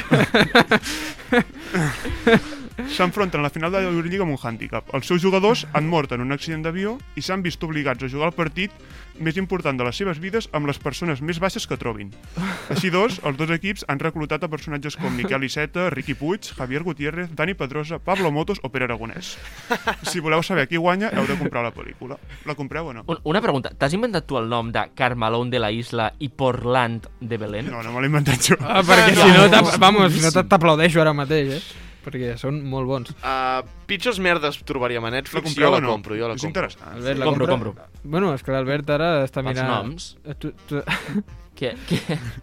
Speaker 3: s'enfronten a la final de la Euroliga amb un hàndicap. Els seus jugadors han mort en un accident d'avió i s'han vist obligats a jugar el partit més important de les seves vides amb les persones més baixes que trobin. Així doncs, els dos equips han reclutat a personatges com Miquel Iceta, Riqui Puig, Javier Gutiérrez, Dani Pedrosa, Pablo Motos o Pere Aragonès. Si voleu saber qui guanya, heu de comprar la pel·lícula. La compreu o no?
Speaker 5: Un- Una pregunta, t'has inventat tu el nom de Carmelón de la Isla i Portland de Belén?
Speaker 3: No, no me l'he inventat jo.
Speaker 2: Ah, perquè si no, t'ap- vamos, si no t'ap- t'aplaudeixo ara mateix, eh? Perquè són molt bons.
Speaker 6: Uh, pitjors merdes trobaríem a
Speaker 3: La
Speaker 6: Netflix.
Speaker 3: compreu
Speaker 6: Jo
Speaker 3: o
Speaker 6: la
Speaker 3: no?
Speaker 6: compro, jo la
Speaker 3: És
Speaker 6: compro.
Speaker 3: interessant.
Speaker 2: Albert, la
Speaker 6: compro,
Speaker 2: compra-
Speaker 6: compro.
Speaker 2: Bueno, és que l'Albert ara està
Speaker 5: Els
Speaker 2: mirant...
Speaker 5: noms?
Speaker 2: Eh, Tu, tu...
Speaker 5: Què?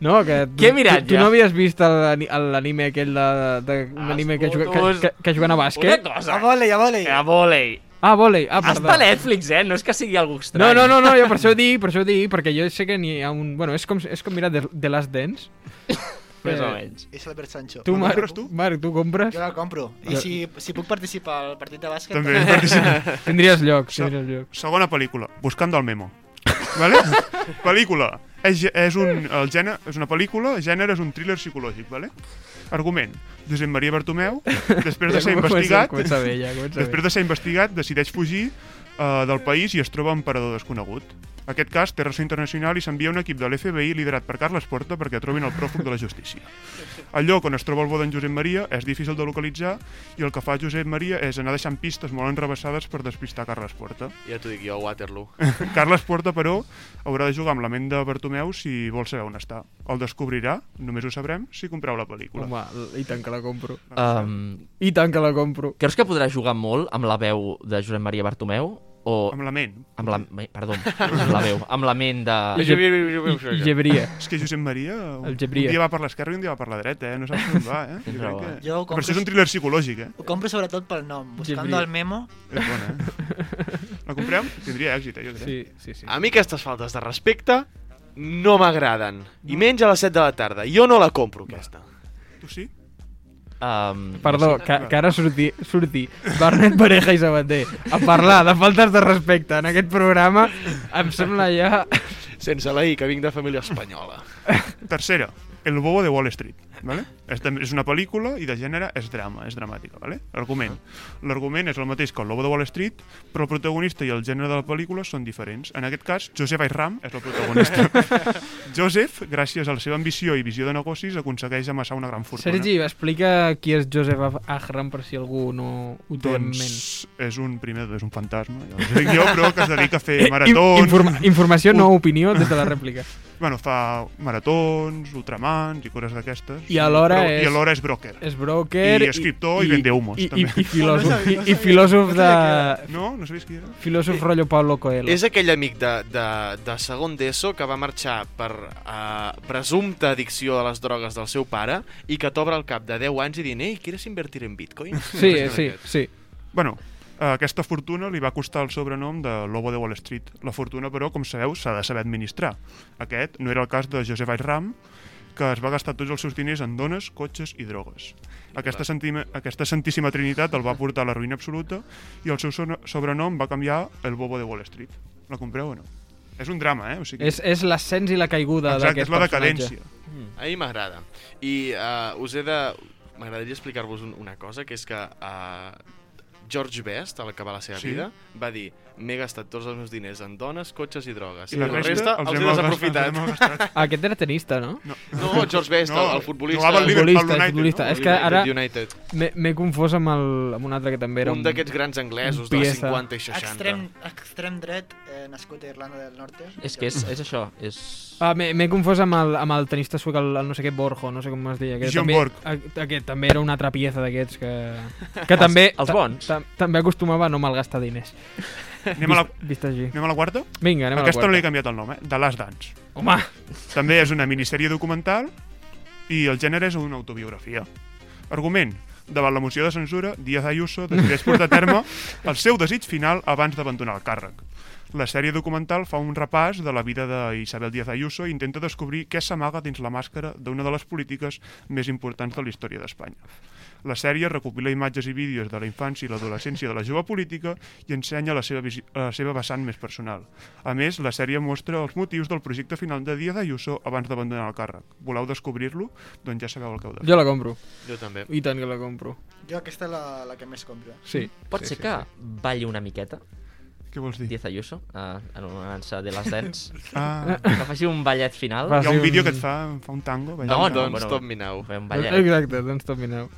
Speaker 2: No, que... tu-
Speaker 5: Què he mirat,
Speaker 2: tu, tu
Speaker 5: ja?
Speaker 2: no havies vist el- el- l'anime aquell de... de un anime que, juga, que, que, que juguen a
Speaker 5: Una
Speaker 2: bàsquet?
Speaker 5: cosa. A
Speaker 4: volei, a volei.
Speaker 5: A volei.
Speaker 2: Ah, volei. Ah, perdó.
Speaker 5: Està a Netflix, eh? No és que sigui algú estrany.
Speaker 2: No, no, no, no, jo per això ho dic, per això ho dic, perquè jo sé que n'hi ha un... Bueno, és com, és com mirar The, The Last Dance.
Speaker 5: Més o
Speaker 2: Eh,
Speaker 5: menys.
Speaker 4: És Albert Sancho.
Speaker 2: Tu,
Speaker 4: La
Speaker 2: Marc,
Speaker 4: compres
Speaker 2: tu? Marc, tu compres? Ah.
Speaker 4: Jo la compro. I
Speaker 2: Jo-
Speaker 4: si, si puc participar al partit de bàsquet...
Speaker 3: També participa.
Speaker 2: Tindries lloc,
Speaker 3: Se-
Speaker 2: tindries lloc.
Speaker 3: Segona pel·lícula, Buscando el Memo. vale? pel·lícula. És, ge- és, un, el gènere, és una pel·lícula, el gènere és un thriller psicològic, vale? Argument. Josep Maria Bartomeu, després de
Speaker 2: Ja
Speaker 3: ser
Speaker 2: comença-
Speaker 3: investigat...
Speaker 2: comença bé, ja comença bé.
Speaker 3: després de ser investigat, decideix fugir uh, del país i es troba un parador desconegut. Aquest cas té relació internacional i s'envia un equip de l'FBI liderat per Carles Porta perquè trobin el pròfug de la justícia. El lloc on es troba el bo d'en Josep Maria és difícil de localitzar i el que fa Josep Maria és anar deixant pistes molt enrebaçades per despistar Carles Porta.
Speaker 6: Ja t'ho dic jo, Waterloo.
Speaker 3: Carles Porta, però, haurà de jugar amb la ment de Bartomeu si vol saber on està. El descobrirà, només ho sabrem, si compreu la pel·lícula.
Speaker 2: Home, l- i tant que la compro.
Speaker 5: Um,
Speaker 2: I tant que la compro.
Speaker 5: Creus que podrà jugar molt amb la veu de Josep Maria Bartomeu? O...
Speaker 3: Amb la ment.
Speaker 5: Amb la... me- Perdó, amb la veu. Amb la ment de...
Speaker 3: És que Josep Maria... Un,
Speaker 2: El Gebria.
Speaker 3: Un dia va per l'esquerra i un dia va per la dreta, eh? No saps on va, eh?
Speaker 5: Tens
Speaker 3: Jo crec
Speaker 5: raó, eh?
Speaker 3: que...
Speaker 4: Jo ho
Speaker 3: Però
Speaker 4: compro-
Speaker 3: això és un thriller psicològic, eh?
Speaker 4: Ho compro sobretot pel nom. Buscando
Speaker 3: Gibri.
Speaker 4: el memo...
Speaker 3: És bona, eh? La comprem? Tindria èxit, eh? Jo crec.
Speaker 2: sí, sí.
Speaker 6: A mi aquestes faltes de respecte no m'agraden. I menys a les 7 de la tarda. Jo no la compro, aquesta.
Speaker 3: Tu sí?
Speaker 5: Um,
Speaker 2: Perdó, que, que ara surti, surti Barnet Pareja i Sabater a parlar de faltes de respecte en aquest programa, em sembla ja...
Speaker 6: Sense la I, que vinc de família espanyola.
Speaker 3: Tercera, El bobo de Wall Street. ¿vale? És, també- és una pel·lícula i de gènere és drama, és dramàtica. ¿vale? Argument. L'argument és el mateix que El lobo de Wall Street, però el protagonista i el gènere de la pel·lícula són diferents. En aquest cas, Joseph Ayram és el protagonista. Joseph, gràcies a la seva ambició i visió de negocis, aconsegueix amassar una gran fortuna.
Speaker 2: Sergi, explica qui és Joseph Ahram per si algú no ho té en ment.
Speaker 3: Doncs és un, primer, és un fantasma, ja us ho dic jo, però que es dedica a fer maratons...
Speaker 2: In- Eh, informa- informació, no opinió, des de la rèplica.
Speaker 3: Bueno, fa maratons, ultramans i coses d'aquestes.
Speaker 2: I alhora
Speaker 3: Però-
Speaker 2: és-
Speaker 3: I alhora és broker.
Speaker 2: és broker
Speaker 3: I escriptor i, i vende humos,
Speaker 2: i,
Speaker 3: també.
Speaker 2: I, i, filòsof, i, i filòsof de...
Speaker 3: No, no sabies qui era?
Speaker 2: Filòsof rotllo Pablo Coelho.
Speaker 6: És aquell amic de, de, de segon d'ESO que va marxar per uh, presumpta addicció a les drogues del seu pare i que t'obre el cap de 10 anys i dient «Ei, quieres invertir en bitcoin?»
Speaker 2: sí.
Speaker 3: Bueno, eh, aquesta fortuna li va costar el sobrenom de Lobo de Wall Street. La fortuna, però, com sabeu, s'ha de saber administrar. Aquest no era el cas de Josep Ayram, que es va gastar tots els seus diners en dones, cotxes i drogues. Aquesta, sentima, aquesta santíssima trinitat el va portar a la ruïna absoluta i el seu so- sobrenom va canviar el Bobo de Wall Street. La compreu o no? És un drama, eh? O sigui,
Speaker 2: És, és l'ascens i la caiguda
Speaker 3: Exacte,
Speaker 2: d'aquest
Speaker 3: és la
Speaker 2: personatge. Mm.
Speaker 3: decadència.
Speaker 6: A mi m'agrada. I uh, us he de... M'agradaria explicar-vos un, una cosa, que és que uh, George Best, el que va a la seva
Speaker 3: Sí.
Speaker 6: sí. vida, va dir m'he gastat tots els meus diners en dones, cotxes i drogues.
Speaker 3: I la resta els
Speaker 6: els
Speaker 3: he
Speaker 6: he
Speaker 3: malgastat,
Speaker 6: desaprofitat.
Speaker 3: els he malgastat.
Speaker 2: Ah, Aquest era tenista, no?
Speaker 3: No,
Speaker 6: No, George Best, el- el futbolista.
Speaker 2: Jugava al
Speaker 6: Futbolista,
Speaker 2: Liverpool,
Speaker 6: United,
Speaker 2: futbolista.
Speaker 6: no?
Speaker 2: És que ara
Speaker 6: United.
Speaker 2: m'he- m'he confós amb, el, amb un altre que també era
Speaker 6: Un d'aquests grans anglesos
Speaker 2: un
Speaker 6: de
Speaker 2: pieza.
Speaker 6: 50 i 60.
Speaker 4: Extrem, extrem dret, eh, nascut a Irlanda del Norte.
Speaker 5: És que és, és això, és...
Speaker 2: Ah, m'he m'he confós amb el, amb el tenista suec, el, el no sé què Borjo, no sé com es deia. Que
Speaker 5: John
Speaker 2: també,
Speaker 5: Borg.
Speaker 2: a- Aquest també era una altra pieza d'aquests que... Que també...
Speaker 5: Els- els
Speaker 2: ta-
Speaker 5: bons.
Speaker 2: ta- També acostumava a no malgastar diners.
Speaker 3: Anem a la-
Speaker 2: Vist- Vist així.
Speaker 3: Anem a la quarta?
Speaker 2: Vinga, anem a la
Speaker 3: Aquesta no
Speaker 2: quarta.
Speaker 3: li he canviat el nom, eh? The Last Dance.
Speaker 2: Home!
Speaker 3: També és una minissèrie documental i el gènere és una autobiografia. Argument. Davant la moció de censura, Díaz Ayuso decideix portar a terme el seu desig final abans d'abandonar el càrrec. La sèrie documental fa un repàs de la vida d'Isabel Díaz Ayuso i intenta descobrir què s'amaga dins la màscara d'una de les polítiques més importants de la història d'Espanya. La sèrie recopila imatges i vídeos de la infància i l'adolescència de la jove política i ensenya la seva, visi- la seva vessant més personal. A més, la sèrie mostra els motius del projecte final de Díaz Ayuso abans d'abandonar el càrrec. Voleu descobrir-lo? Doncs ja sabeu el que heu de fer.
Speaker 2: Jo la compro.
Speaker 6: Jo també.
Speaker 2: I tant que la compro.
Speaker 4: Jo aquesta és la, la que més compro.
Speaker 2: Sí.
Speaker 5: Pot
Speaker 2: sí,
Speaker 5: ser
Speaker 2: sí,
Speaker 5: que balli una miqueta?
Speaker 3: Què vols dir?
Speaker 5: Diez Ayuso, uh, anomenant-se de les Dents.
Speaker 3: Ah.
Speaker 5: Que faci un ballet final.
Speaker 3: Hi ha un vídeo que et fa, fa un tango. ballant.
Speaker 5: No, no, Don't bueno, Stop Me Now. fem un ballet.
Speaker 2: Exacte, doncs tot mineu.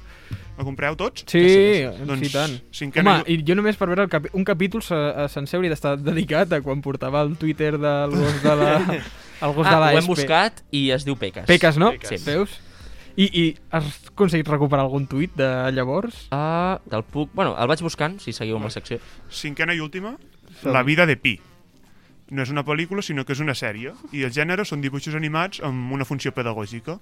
Speaker 3: La compreu tots?
Speaker 2: Sí,
Speaker 3: Sí,
Speaker 2: sí,
Speaker 3: sí, sí.
Speaker 2: doncs,
Speaker 3: Doncs
Speaker 2: sí tant.
Speaker 3: cinquena
Speaker 2: Home, i jo només per veure el capi un capítol se eh, sencer hauria d'estar dedicat a quan portava el Twitter del gos de la... El gos
Speaker 5: ah,
Speaker 2: de la
Speaker 5: ho hem
Speaker 2: SP.
Speaker 5: buscat i es diu Peques.
Speaker 2: Peques, no?
Speaker 5: Peques. Sí.
Speaker 2: Veus? I, I has aconseguit recuperar algun tuit de llavors?
Speaker 5: Ah, del puc... Bueno, el vaig buscant, si seguiu amb la secció.
Speaker 3: Cinquena i última, La vida de Pi. No és una pel·lícula, sinó que és una sèrie, i el gènere són dibuixos animats amb una funció pedagògica.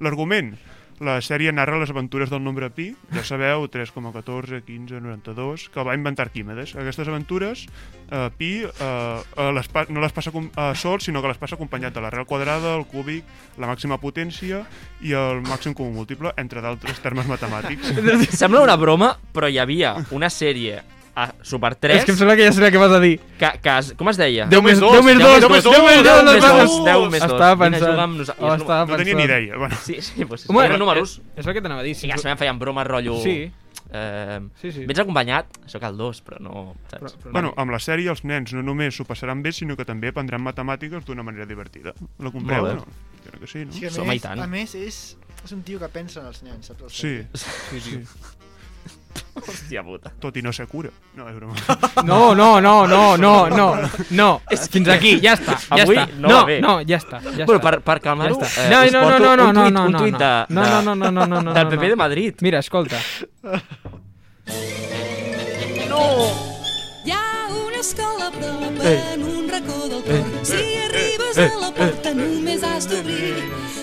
Speaker 3: L'argument, la sèrie narra les aventures del nombre pi, ja sabeu, 3,14, 15, 92, que va inventar Arquímedes. Aquestes aventures, eh, pi eh, eh, les pa no les passa com- eh, sol, sinó que les passa acompanyat de l'arrel quadrada, el cúbic, la màxima potència i el màxim comú múltiple, entre d'altres termes matemàtics.
Speaker 5: Sembla una broma, però hi havia una sèrie a Super 3
Speaker 2: És que em sembla que ja sabia què vas a dir.
Speaker 5: que, que es, com es deia?
Speaker 2: Deu més dos, deu més dos, deu més dos, deu més dos. Estava pensant. Oh, estava
Speaker 5: No
Speaker 2: pensant.
Speaker 5: tenia ni idea. Bueno. Sí, sí, pues,
Speaker 2: Home,
Speaker 5: Home,
Speaker 2: és-
Speaker 5: eren números.
Speaker 2: és- és el que t'anava a dir, si
Speaker 5: Sí, ja
Speaker 2: tu-
Speaker 5: se feien bromes, rotllo...
Speaker 2: Sí.
Speaker 5: Eh,
Speaker 2: Sí, sí.
Speaker 5: Vens acompanyat, això cal dos, però no... Saps? Però, però
Speaker 3: Bueno, amb la sèrie els nens no només s'ho passaran bé, sinó que també aprendran matemàtiques d'una manera divertida. La compreu,
Speaker 5: Molt bé.
Speaker 3: no? Jo crec que sí, no?
Speaker 4: Sí, a, més, a més, és, és un tio que pensa en els nens, saps?
Speaker 3: Sí.
Speaker 4: sí,
Speaker 3: sí.
Speaker 5: Hòstia puta.
Speaker 3: Tot i no ser cura. No, és broma.
Speaker 2: No, no, no, no, no, no, no. Fins aquí, ja està, ja
Speaker 5: Avui
Speaker 2: està.
Speaker 5: no va bé.
Speaker 2: no, ja està, ja
Speaker 5: Bueno,
Speaker 2: està.
Speaker 5: per- per calmar-ho,
Speaker 2: Ja està.
Speaker 5: eh, us
Speaker 2: no, no,
Speaker 5: porto
Speaker 2: no, no,
Speaker 5: un
Speaker 2: no,
Speaker 5: tuit-
Speaker 2: no,
Speaker 5: un
Speaker 2: no,
Speaker 5: tuit de-
Speaker 2: no,
Speaker 5: de-
Speaker 2: no, no, no, no, no, no,
Speaker 5: del
Speaker 2: no.
Speaker 5: PP de Madrid.
Speaker 2: Mira, escolta.
Speaker 17: No!
Speaker 18: Hi ha una escola a prop
Speaker 2: Ei.
Speaker 18: en un racó del
Speaker 2: Ei.
Speaker 18: cor. Si
Speaker 2: Ei.
Speaker 18: arribes
Speaker 2: Ei.
Speaker 18: a la porta només has d'obrir.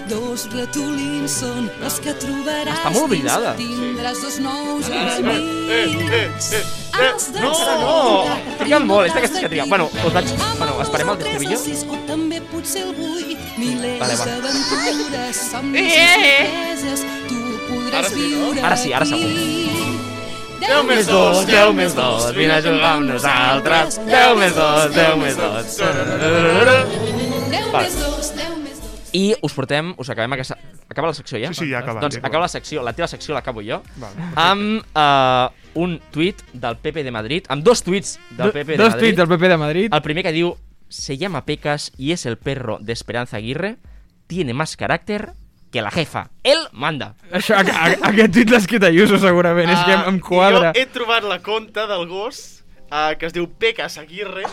Speaker 18: Dos ratolins són els que trobaràs
Speaker 5: Està molt oblidada.
Speaker 18: dins. Tindràs dos nous
Speaker 5: Eh,
Speaker 18: ulls
Speaker 5: eh,
Speaker 18: amics. Els
Speaker 5: No! Fiquen molt, és d'aquestes que triguen. Bueno, us vaig... Bueno, esperem el
Speaker 18: Tres
Speaker 5: testibillo.
Speaker 18: o sis o també potser el vuit.
Speaker 5: Vale,
Speaker 18: Milers
Speaker 5: va.
Speaker 18: d'aventures, somnis i
Speaker 17: Eh, eh, eh.
Speaker 18: sorpreses. Tu
Speaker 5: Ara
Speaker 18: podràs
Speaker 5: sí, no?
Speaker 18: viure
Speaker 5: Ara sí, ara segur.
Speaker 18: aquí.
Speaker 5: Deu més dos, deu més dos, vine a jugar amb nosaltres. Deu més dos, deu més dos.
Speaker 18: Deu
Speaker 5: Vale.
Speaker 18: més dos, deu um més dos.
Speaker 5: I us portem, us acabem aquesta... Acaba la secció ja?
Speaker 3: Sí, sí, ja ha acabat,
Speaker 5: Doncs
Speaker 3: ja ha
Speaker 5: acaba la secció, la teva secció l'acabo jo,
Speaker 3: Vale.
Speaker 5: amb uh, un tuit del PP de Madrid, amb dos tuits del
Speaker 2: Do-
Speaker 5: PP de
Speaker 2: dos
Speaker 5: Madrid.
Speaker 2: tuits del PP de Madrid.
Speaker 5: El primer que diu, se llama Pecas y es el perro de Esperanza Aguirre, tiene más carácter que la jefa. Él manda. Ah,
Speaker 2: Això, a, a, aquest tuit l'ha escrit Ayuso, segurament, és que em, em quadra.
Speaker 6: Ah, Jo he trobat la conta del gos uh, que es diu Pecas Aguirre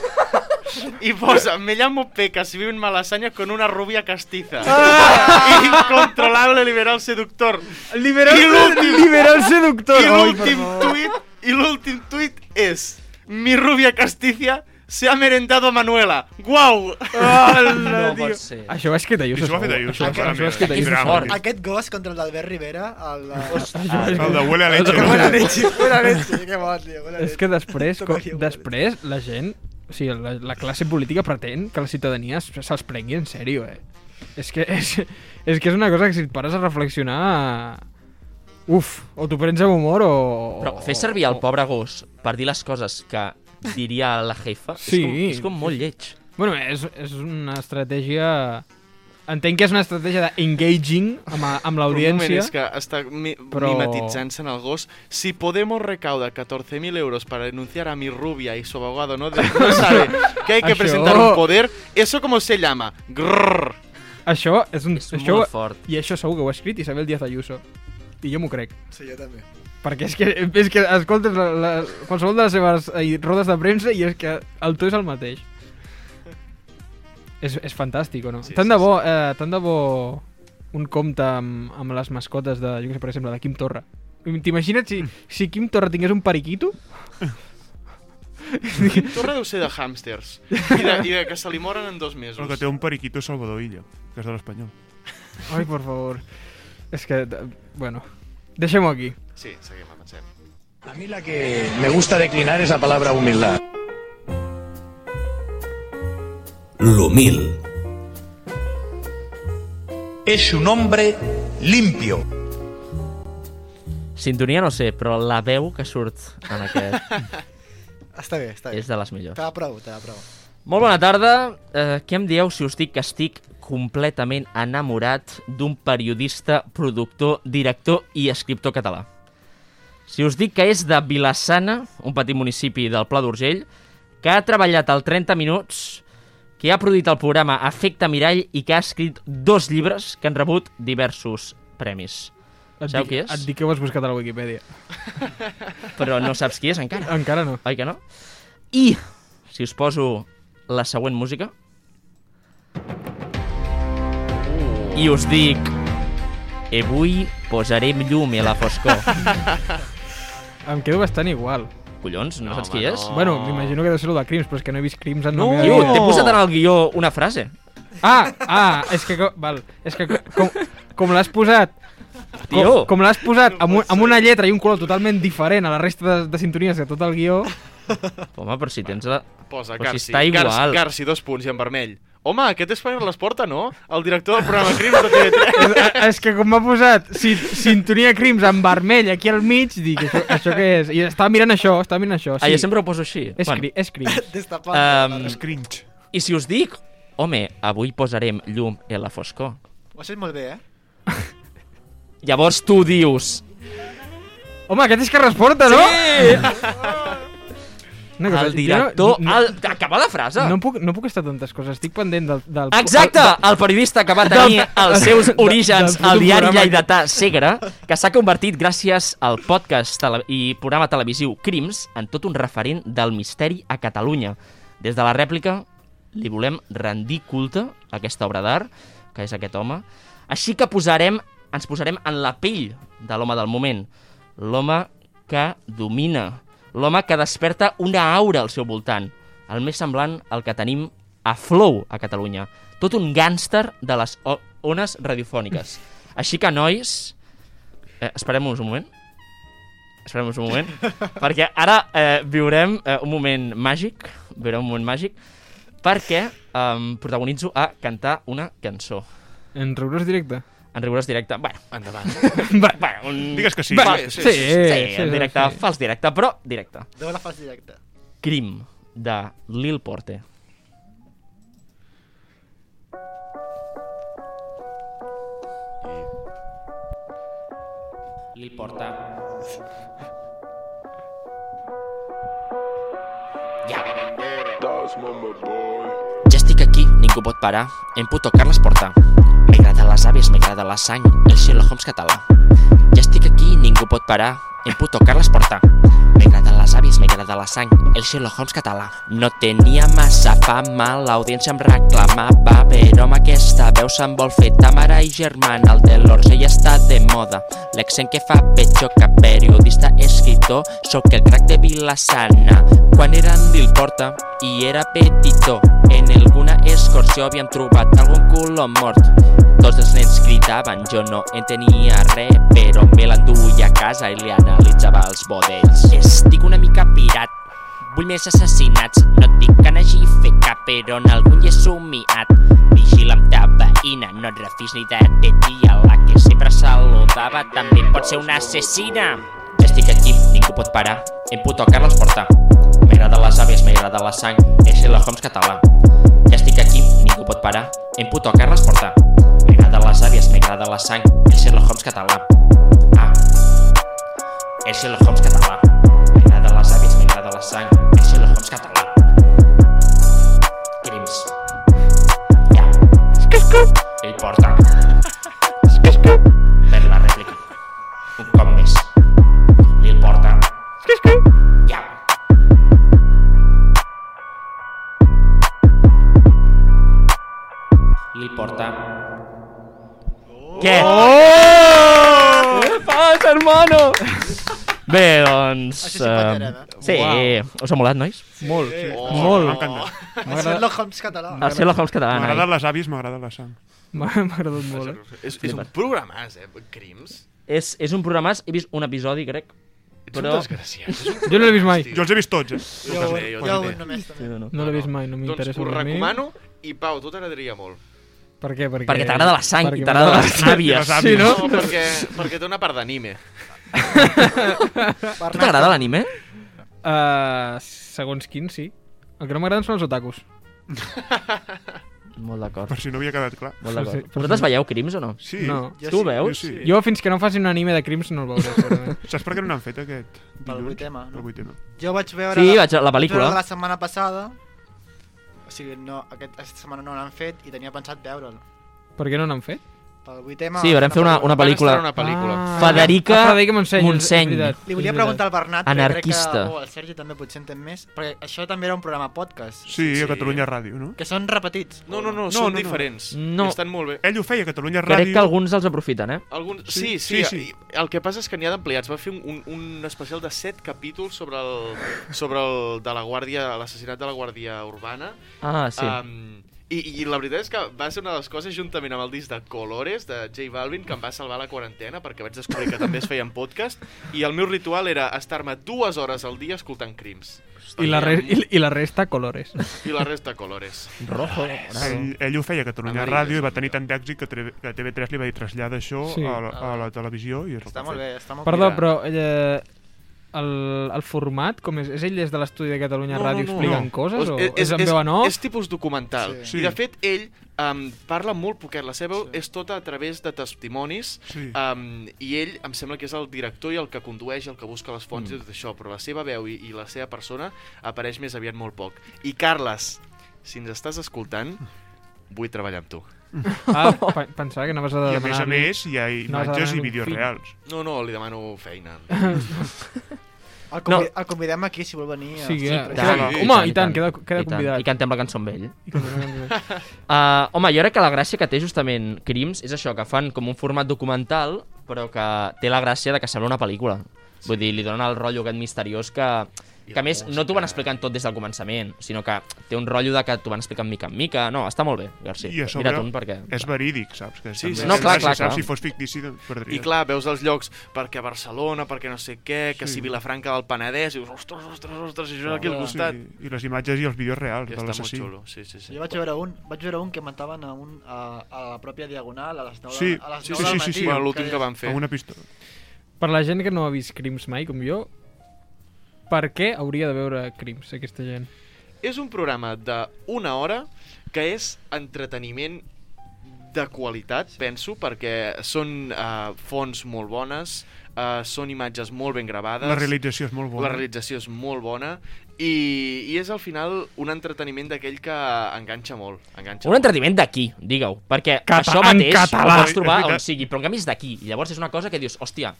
Speaker 6: i posa, me llamo Pecas y vivo en Malasaña con una rubia castiza. Incontrolable liberal seductor.
Speaker 2: Ah! Liberal,
Speaker 6: I l'últim-
Speaker 2: liberal seductor.
Speaker 6: I
Speaker 2: Ai, per
Speaker 6: l'últim
Speaker 2: favor.
Speaker 6: tuit, i l'últim tuit és Mi rubia castiza se ha merendado a Manuela. Guau!
Speaker 2: No pot ser. Això ho ha escrit Ayuso,
Speaker 3: Això ho ha fet
Speaker 2: segur.
Speaker 3: Ayuso,
Speaker 2: Aquest-
Speaker 3: clarament.
Speaker 2: Això ho ha escrit
Speaker 3: Aquí
Speaker 2: Ayuso.
Speaker 3: és
Speaker 2: segur.
Speaker 3: fort.
Speaker 4: Aquest gos contra el d'Albert Rivera, el de...
Speaker 2: Això és-
Speaker 3: El de Ah, huele a leche.
Speaker 2: El de
Speaker 3: Huele a
Speaker 4: leche, huele a leche, que bon, tio, huele a
Speaker 2: És que
Speaker 4: leche.
Speaker 2: després,
Speaker 4: Toca
Speaker 2: com,
Speaker 4: aquí, huele a
Speaker 2: després la gent, o sigui, la, la classe política pretén que la ciutadania es- se'ls prengui en sèrio, eh? És que és, és que és una cosa que si et pares a reflexionar... Uf, o t'ho prens amb humor o...
Speaker 5: Però fer servir el pobre gos per dir les coses que diria la jefa
Speaker 2: Sí.
Speaker 5: és, com, és com molt lleig.
Speaker 2: Bueno, és, és una estratègia... Entenc que és una estratègia d'engaging amb, a- amb
Speaker 6: Un moment,
Speaker 2: l'audiència.
Speaker 6: és que està mi
Speaker 2: Però-
Speaker 6: mimetitzant-se en el gos. Si Podemos recauda 14.000 euros para denunciar a mi rubia y su abogado no, de- no sabe que hay que
Speaker 2: Això-
Speaker 6: presentar un poder, ¿eso cómo se llama? Grrr.
Speaker 2: Això és un... això,
Speaker 6: molt
Speaker 2: fort. I això segur que ho ha escrit Isabel Díaz Ayuso. I jo m'ho crec.
Speaker 4: Sí, jo també.
Speaker 2: Perquè és que, és que escoltes la, la, qualsevol de les seves eh, rodes de premsa i és que el to és el mateix. És, és fantàstic, o no? Sí, tant, de bo, eh, tant de bo un compte amb, amb les mascotes de, jo què sé, per exemple, de Quim Torra. T'imagina't si, si Quim Torra tingués un periquito?
Speaker 6: Torre deu ser de hàmsters. I, de, I de que se li moren en dos mesos.
Speaker 3: El que té un periquito és Salvador Illa, que és de l'Espanyol.
Speaker 2: Ai, por favor. És que, eh, bueno, deixem-ho aquí.
Speaker 6: Sí, seguim, avancem.
Speaker 14: A mí la que me gusta declinar es la palabra humildad.
Speaker 1: l'humil.
Speaker 5: Es un hombre limpio. Sintonia no sé, però la veu que surt en aquest...
Speaker 4: Està bé, està bé.
Speaker 5: És de les millors.
Speaker 4: Te la provo, te la provo.
Speaker 5: Molt bona tarda. Eh, què em dieu si us dic que estic completament enamorat d'un periodista, productor, director i escriptor català? Si us dic que és de Vilassana, un petit municipi del Pla d'Urgell, que ha treballat al 30 Minuts, que ha produït el programa Efecte Mirall i que ha escrit dos llibres que han rebut diversos premis.
Speaker 2: Et
Speaker 5: Sabeu
Speaker 2: dic-
Speaker 5: qui és?
Speaker 2: Et dic que ho has buscat a la Wikipedia.
Speaker 5: Però no saps qui és encara.
Speaker 2: Encara no.
Speaker 5: Oi que no? I, si us poso la següent música... I us dic... E avui posarem llum a la foscor.
Speaker 2: Em quedo bastant igual.
Speaker 5: Collons, no, saps qui és?
Speaker 2: Bueno, m'imagino que deu ser el de Crims, però és que no he vist Crims en
Speaker 5: Oh. No!
Speaker 2: la meva
Speaker 5: Tio, t'he posat en el guió una frase.
Speaker 2: Ah, ah, és que... co- Val, és que co- com, com l'has posat... Com,
Speaker 5: Tio.
Speaker 2: com l'has posat amb, un, amb una lletra i un color totalment diferent a la resta de, de sintonies de tot el guió...
Speaker 5: Home, però si tens la...
Speaker 6: Posa
Speaker 5: però
Speaker 6: Garci.
Speaker 5: si està igual.
Speaker 6: Garci, Garci, dos punts i en vermell. Home, aquest és per l'esporta, no? El director del programa Crims de TV3.
Speaker 2: és, és que com m'ha posat si, sintonia Crims en vermell aquí al mig, dic, això, això què és? I estava mirant això, estava mirant això.
Speaker 5: Ah,
Speaker 2: Sí.
Speaker 5: jo sempre ho poso així.
Speaker 2: És,
Speaker 5: Bueno.
Speaker 2: cri, és Crims.
Speaker 5: Um,
Speaker 4: És
Speaker 5: cringe. I si us dic, home, avui posarem llum a la foscor.
Speaker 4: Ho has fet molt bé, eh?
Speaker 5: Llavors tu dius...
Speaker 2: Home, aquest és que resporta, no?
Speaker 5: Sí!
Speaker 2: Una cosa, jo
Speaker 5: el
Speaker 2: no-
Speaker 5: director...
Speaker 2: no-
Speaker 5: el... Acaba la frase!
Speaker 2: No puc, no puc estar tantes coses, estic pendent del... del
Speaker 5: Exacte!
Speaker 2: del-
Speaker 5: El periodista que va tenir els seus orígens
Speaker 2: del
Speaker 5: al diari
Speaker 2: programa.
Speaker 5: Lleidatà Segre, que s'ha convertit gràcies al podcast tele- i programa televisiu Crims en tot un referent del misteri a Catalunya. Des de la rèplica li volem rendir culte a aquesta obra d'art, que és aquest home. Així que posarem, ens posarem en la pell de l'home del moment. L'home que domina. L'home que desperta una aura al seu voltant. El més semblant al que tenim a Flow, a Catalunya. Tot un gànster de les o- ones radiofòniques. Així que, nois, eh, esperem-nos un moment. Esperem-nos un moment. perquè ara eh, viurem eh, un moment màgic. Viurem un moment màgic. Perquè em protagonitzo a cantar una cançó.
Speaker 2: En rigorós directe?
Speaker 5: En rigorós directe. Bueno.
Speaker 6: Endavant.
Speaker 5: Va, bueno, un...
Speaker 2: Digues que sí.
Speaker 5: Va,
Speaker 2: Sí,
Speaker 5: sí,
Speaker 2: sí,
Speaker 5: sí, sí,
Speaker 2: sí, sí,
Speaker 5: en
Speaker 2: sí,
Speaker 5: directe,
Speaker 2: sí.
Speaker 5: fals directe, però directe.
Speaker 4: Deu la fas directa.
Speaker 5: Crim, de Lil Porte. Lil Porta. Ja. Ja estic aquí, ningú pot parar. Em puto Carles Porta. M'agrada les àvies, m'agrada la sang, el Sherlock Holmes català. Ja estic aquí, ningú pot parar. Em puto Carles Porta. M'agrada les àvies, m'agrada la sang, el Sherlock Holmes català. No tenia massa fama, l'audiència em reclamava, però amb aquesta veu se'n vol fer ta mare i germana. El de l'Orsell està de moda, l'accent que fa petxo que periodista escritor, sóc el crac de Vilassana. Quan era en Lil Porta i era petitó, en alguna excursió havíem trobat algun color mort. Tots els nens cridaven, jo no entenia res, però me l'enduia a casa i li analitzava els bodells. Estic una mica pirat, vull més assassinats, no et dic que n'hagi fet cap, però en algun hi he somiat. Vigila amb ta veïna, no et refis ni de te tia, la que sempre saludava també pot ser una assassina. Ja estic aquí, ningú pot parar, em puto Carles Porta. M'agrada les àvies, m'agrada la sang, és Sherlock Holmes català. Ja estic aquí, ningú pot parar, em puto Carles Porta. M'agrada les àvies, m'agrada la sang, el Sherlock Holmes català. Ah, el Sherlock Holmes català. M'agrada les àvies, m'agrada la sang, el Sherlock Holmes català. Crims. Ja. Ell porta. Per la rèplica. Un cop més. Lil porta. Ja. Lil porta. Què? Oh! Què passa, hermano? Bé, doncs...
Speaker 4: Això sí que
Speaker 5: eh,
Speaker 4: t'agrada.
Speaker 5: sí,
Speaker 4: Uau.
Speaker 5: us ha molat, nois?
Speaker 2: Molt,
Speaker 4: Sí.
Speaker 2: oh,
Speaker 4: Oh.
Speaker 2: molt.
Speaker 4: M'encanta. El Sherlock Holmes català.
Speaker 5: El Sherlock Holmes català,
Speaker 3: M'agrada
Speaker 5: Nike.
Speaker 3: les àvies, m'agrada la sang.
Speaker 2: M'ha m'ha agradat molt, eh?
Speaker 6: És, és un programàs, eh? Crims.
Speaker 5: És, és un programa, he vist un episodi, crec. però...
Speaker 2: Jo no l'he vist mai.
Speaker 3: Jo els he vist tots, eh?
Speaker 6: Jo Jo també, jo jo també. un només, també.
Speaker 2: No, l'he vist mai, no m'interessa.
Speaker 6: Doncs ho
Speaker 2: per mi.
Speaker 6: recomano i Pau, tu t'agradaria molt.
Speaker 2: Per què? Perquè,
Speaker 5: Perquè t'agrada la sang
Speaker 2: perquè
Speaker 5: i t'agrada
Speaker 2: m'agrada
Speaker 5: les
Speaker 2: la sang i
Speaker 5: àvies.
Speaker 2: les àvies.
Speaker 5: Sí, no?
Speaker 6: no perquè, perquè té una part d'anime.
Speaker 5: tu t'agrada l'anime?
Speaker 2: Uh, segons quin, sí. El que no m'agraden són els otakus.
Speaker 5: Molt d'acord.
Speaker 3: Per si no havia quedat clar.
Speaker 5: Molt d'acord. Vosaltres veieu Crims o no?
Speaker 3: Sí. Eh,
Speaker 2: No.
Speaker 5: Jo Tu sí, ho veus? jo sí.
Speaker 2: Jo fins que no facin un anime de Crims no el veuré. segurament.
Speaker 3: Saps per què no n'han fet aquest? Pel
Speaker 4: vuitema,
Speaker 3: no? El vuitema.
Speaker 4: Jo vaig veure...
Speaker 2: Sí, vaig- la
Speaker 4: vaig
Speaker 2: pel·lícula.
Speaker 4: veure la setmana passada. O sigui, no, aquest, aquesta setmana no l'han fet i tenia pensat veure'l.
Speaker 2: per què no n'han fet?
Speaker 4: Pel vuitema...
Speaker 5: Sí, vam fer una, una pel·lícula. Federica,
Speaker 2: Ah, Federica Montseny, és- és
Speaker 5: Montseny.
Speaker 2: veritat.
Speaker 4: Li volia preguntar al Bernat, Anarquista.
Speaker 5: Anarquista.
Speaker 4: crec que, o al Sergi també potser entén més, perquè això també era un programa podcast.
Speaker 3: Sí, a Catalunya Ràdio, no?
Speaker 4: Que són repetits.
Speaker 6: No, no, no, No, són no, no. diferents.
Speaker 5: No.
Speaker 6: Estan molt bé.
Speaker 3: Ell ho feia a Catalunya
Speaker 5: Crec
Speaker 3: Ràdio.
Speaker 5: que alguns els aprofiten, eh?
Speaker 6: Algun...
Speaker 3: Sí, sí,
Speaker 6: Sí, sí, sí,
Speaker 3: sí.
Speaker 6: El que passa és que n'hi ha d'ampliats. Va fer un, un, un especial de 7 capítols sobre el, sobre el de la guàrdia, l'assassinat de la guàrdia urbana.
Speaker 5: Ah, sí.
Speaker 6: Um, i, I la veritat és que va ser una de les coses, juntament amb el disc de Colores, de J Balvin, que em va salvar la quarantena, perquè vaig descobrir que també es feien podcast, i el meu ritual era estar-me dues hores al dia escoltant crims.
Speaker 2: I la, re i, i la resta, colores.
Speaker 6: I la resta, Colores.
Speaker 5: Rojo,
Speaker 3: Ell, ell ho feia a Catalunya
Speaker 6: Amarillo,
Speaker 3: Ràdio i va
Speaker 6: sí.
Speaker 3: tenir tant d'èxit que, tre- que TV3 li va dir trasllada això
Speaker 2: Sí.
Speaker 3: sí. a, la, a la televisió i és el que
Speaker 4: Ah, Està
Speaker 3: han
Speaker 4: molt
Speaker 3: fet.
Speaker 4: bé, està molt
Speaker 2: Perdó, però eh, el, el format, com és? És ell des de l'estudi de Catalunya Ràdio explicant coses? O és, és, en veu en off?
Speaker 6: És tipus documental.
Speaker 2: Sí.
Speaker 6: Sí. I de fet, ell um, parla molt poquet. La seva sí. és tota a través de testimonis
Speaker 3: sí.
Speaker 6: um, i ell em sembla que és el director i el que condueix, el que busca les fonts
Speaker 5: Mm.
Speaker 6: mm. i tot això, però la seva veu i, i la seva persona apareix més aviat molt poc. I Carles, si ens estàs escoltant, vull treballar amb tu.
Speaker 2: Ah, pe- pensava que anaves a
Speaker 3: I a més a
Speaker 2: demanar-li-
Speaker 3: més hi ha
Speaker 2: anaves a
Speaker 3: imatges i
Speaker 2: demanar-li un
Speaker 3: vídeos
Speaker 2: fill.
Speaker 3: reals.
Speaker 6: No, no, li demano feina.
Speaker 4: El, convi no. el convidem aquí, si vol venir.
Speaker 2: Sí,
Speaker 4: als
Speaker 2: eh,
Speaker 4: centres.
Speaker 2: queda- home, i tant, queda- queda
Speaker 5: I tant.
Speaker 2: convidat.
Speaker 5: I cantem la cançó amb ell.
Speaker 2: I cantem la cançó amb ell.
Speaker 5: uh, home, jo crec que la gràcia que té justament Crims és això, que fan com un format documental, però que té la gràcia de que sembla una pel·lícula. Vull dir, li donen el rotllo aquest misteriós que... Que a més, no t'ho van explicant tot des del començament, sinó que té un rotllo de que t'ho van explicant mica en mica. No, està molt bé, Garcia.
Speaker 3: I a sobre
Speaker 5: Mira't un perquè...
Speaker 3: és verídic, saps? Que
Speaker 6: Sí,
Speaker 3: també
Speaker 6: sí,
Speaker 3: és
Speaker 5: no, clar,
Speaker 3: gràcies,
Speaker 5: clar,
Speaker 3: saps?
Speaker 5: clar.
Speaker 3: Si fos fictici, doncs perdries.
Speaker 6: I clar, veus els llocs perquè Barcelona, perquè no sé què, que
Speaker 3: Sí.
Speaker 6: sí. si Vilafranca del Penedès, i dius, ostres, ostres, ostres, això és aquí al costat.
Speaker 3: Sí, I les imatges i els vídeos reals
Speaker 6: I
Speaker 3: de
Speaker 6: està molt
Speaker 3: l'assassí.
Speaker 6: xulo, sí, sí, sí.
Speaker 4: Jo vaig veure un, vaig veure un que mataven a, un, a, a la pròpia diagonal, a les 9
Speaker 3: Sí,
Speaker 4: de, a les
Speaker 3: sí,
Speaker 4: 9
Speaker 3: sí,
Speaker 4: del
Speaker 3: sí,
Speaker 4: matí.
Speaker 3: sí, sí. Bueno, l'últim que van fer. Amb una pistola.
Speaker 2: Per la gent que no ha vist Crims mai, com jo, per què hauria de veure Crims, aquesta gent?
Speaker 6: És un programa d'una hora que és entreteniment de qualitat, penso, perquè són uh, fonts molt bones, uh, són imatges molt ben gravades...
Speaker 3: La realització és molt bona.
Speaker 6: La realització és molt bona i, i és al final un entreteniment d'aquell que enganxa molt. Enganxa
Speaker 5: Un entreteniment d'aquí, digue-ho, perquè
Speaker 6: Cata-
Speaker 5: això
Speaker 6: en
Speaker 5: mateix
Speaker 6: català.
Speaker 5: ho pots trobar
Speaker 6: És veritat.
Speaker 5: on sigui, però en canvi és d'aquí. I Llavors és una cosa que dius, hòstia,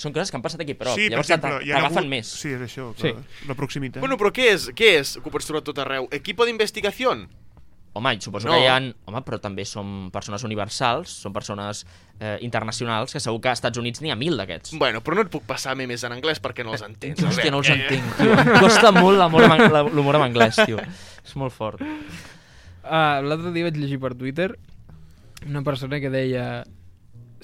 Speaker 5: són coses que han passat aquí, però
Speaker 3: sí, per
Speaker 5: llavors
Speaker 3: exemple,
Speaker 5: t'agafen
Speaker 3: hi ha hagut...
Speaker 5: més.
Speaker 3: Sí, és això, clar, la proximitat.
Speaker 6: Bueno, però què és? Què és? Que ho pots trobar a tot arreu. Equipo d'investigació?
Speaker 5: Home, i suposo
Speaker 6: No.
Speaker 5: no. que hi ha... Home, però també som persones universals, són persones eh, internacionals, que segur que als Estats Units n'hi ha mil d'aquests.
Speaker 6: Bueno, però no et puc passar memes en anglès perquè no els entens.
Speaker 5: Hòstia,
Speaker 6: Albert.
Speaker 5: no els entenc, tio. Em costa molt l'amor en ang- la- l'humor en anglès, tio. És molt fort.
Speaker 2: Uh, L'altre dia vaig llegir per Twitter una persona que deia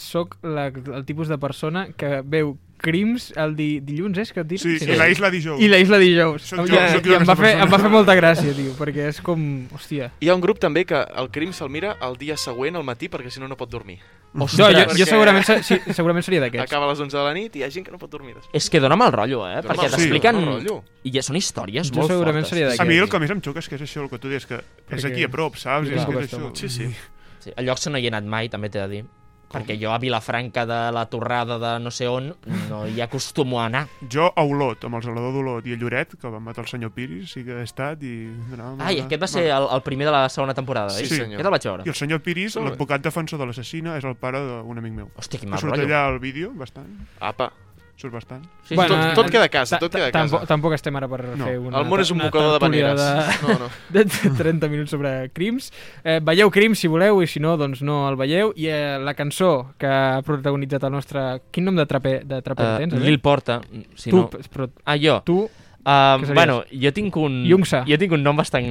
Speaker 2: soc la, el tipus de persona que veu crims el di, dilluns, eh, és que et dic?
Speaker 3: Sí, i la Isla dijous.
Speaker 2: I la Isla dijous.
Speaker 3: Soc jo,
Speaker 2: I,
Speaker 3: soc jo
Speaker 2: i em, va
Speaker 3: aquesta
Speaker 2: fer, em va
Speaker 3: persona.
Speaker 2: fer molta gràcia, tio, perquè és com... Hòstia.
Speaker 6: Hi ha un grup també que el crim se'l mira el dia següent al matí perquè si no no pot dormir.
Speaker 2: Ostres. No, jo- jo segurament se- sí, segurament seria d'aquests.
Speaker 6: Acaba a les 11 de la nit i hi ha gent que no pot dormir després.
Speaker 5: És que dóna mal rotllo, eh?
Speaker 6: Dóna
Speaker 5: Perquè
Speaker 6: mal- sí,
Speaker 5: t'expliquen...
Speaker 6: dóna mal rotllo.
Speaker 5: I ja són històries molt fortes.
Speaker 3: A mi el que més em xoca és que és això el que tu dius, que és aquí a prop, saps? És que és això.
Speaker 5: Mm. sí. A llocs que no hi he anat mai, també t'he de dir. Perquè jo a Vilafranca de la Torrada de no sé on no hi acostumo a anar.
Speaker 3: Jo a Olot, amb el Salvador d'Olot i a Lloret, que van matar el senyor Piris, sí que he estat i... donàvem
Speaker 5: Ai,
Speaker 3: una-
Speaker 5: aquest va ser el, el primer de la segona temporada, eh? Aquest el vaig veure.
Speaker 3: I el senyor Piris,
Speaker 5: Està molt bé.
Speaker 3: l'advocat defensor de l'assassina, és el pare d'un amic meu.
Speaker 5: Hòstia, quin
Speaker 3: Que
Speaker 5: mal
Speaker 3: Surt
Speaker 5: rotllo.
Speaker 3: allà al vídeo, bastant.
Speaker 6: Apa.
Speaker 3: Surt bastant.
Speaker 5: Sí, Bueno, tot- tot queda a casa,
Speaker 2: Ta-
Speaker 5: tot queda a
Speaker 2: ta-
Speaker 5: casa.
Speaker 2: Tampoc, tampoc estem ara per
Speaker 5: No.
Speaker 2: fer una...
Speaker 5: El món és un mocador de
Speaker 2: tertúlia
Speaker 5: banyeres.
Speaker 2: De...
Speaker 5: No, no.
Speaker 2: de 30 minuts sobre crims. Eh, veieu crims si voleu i si no, doncs no el veieu. I eh, la cançó que ha protagonitzat el nostre... Quin nom de traper, de traper
Speaker 5: Eh,
Speaker 2: tens? eh?
Speaker 5: Lil Porta, si
Speaker 2: tu,
Speaker 5: no...
Speaker 2: p- Però...
Speaker 5: Ah, jo.
Speaker 2: Tu,
Speaker 5: Um,
Speaker 2: series?
Speaker 5: bueno, jo tinc un...
Speaker 2: Yungsa. Ah.
Speaker 5: Jo tinc un nom bastant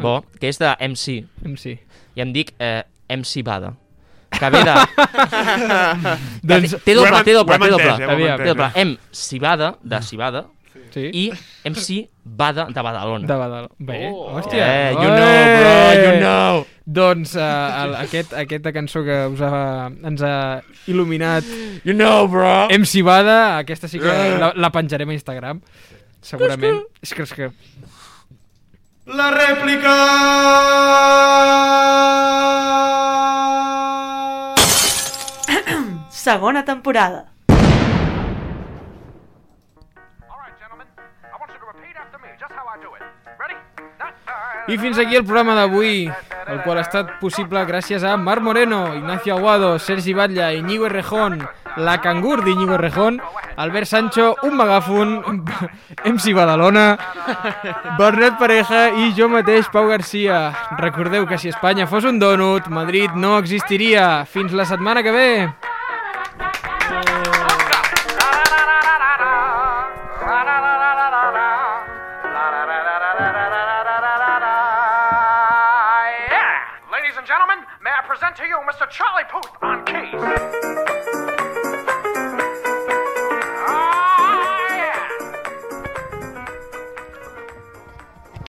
Speaker 5: bo, que és de MC.
Speaker 2: MC.
Speaker 5: I em dic eh, MC Bada. Cabeda.
Speaker 2: Doncs-
Speaker 5: té
Speaker 2: Ho
Speaker 5: doble,
Speaker 2: hem
Speaker 5: té doble,
Speaker 2: entès, eh, ho hem
Speaker 5: té doble. Aviam, té
Speaker 2: entès,
Speaker 5: doble.
Speaker 2: eh.
Speaker 5: Em Cibada, de Cibada,
Speaker 2: sí.
Speaker 5: i MC Bada, de Badalona.
Speaker 2: De Badal. Bé, oh. hòstia.
Speaker 5: Eh, you know, bro, you know.
Speaker 2: Doncs uh, el, aquest, aquesta cançó que us ha, ens ha il·luminat...
Speaker 5: You know, bro.
Speaker 2: Hem cibada, aquesta sí que
Speaker 5: Eh.
Speaker 2: la, la penjarem a Instagram, segurament. És que, és que...
Speaker 17: La réplica.
Speaker 19: Segona temporada.
Speaker 2: I fins aquí el programa d'avui, el qual ha estat possible gràcies a Marc Moreno, Ignacio Aguado, Sergi Batlla, Iñigo Errejón, la cangur d'Iñigo Errejón, Albert Sancho, un megàfon, MC Badalona, Bernat Pareja i jo mateix, Pau Garcia. Recordeu que si Espanya fos un dònut, Madrid no existiria. Fins la setmana que ve!
Speaker 16: Ah.
Speaker 17: Ladies and gentlemen, may I present to you Mr. Charlie Puth on keys.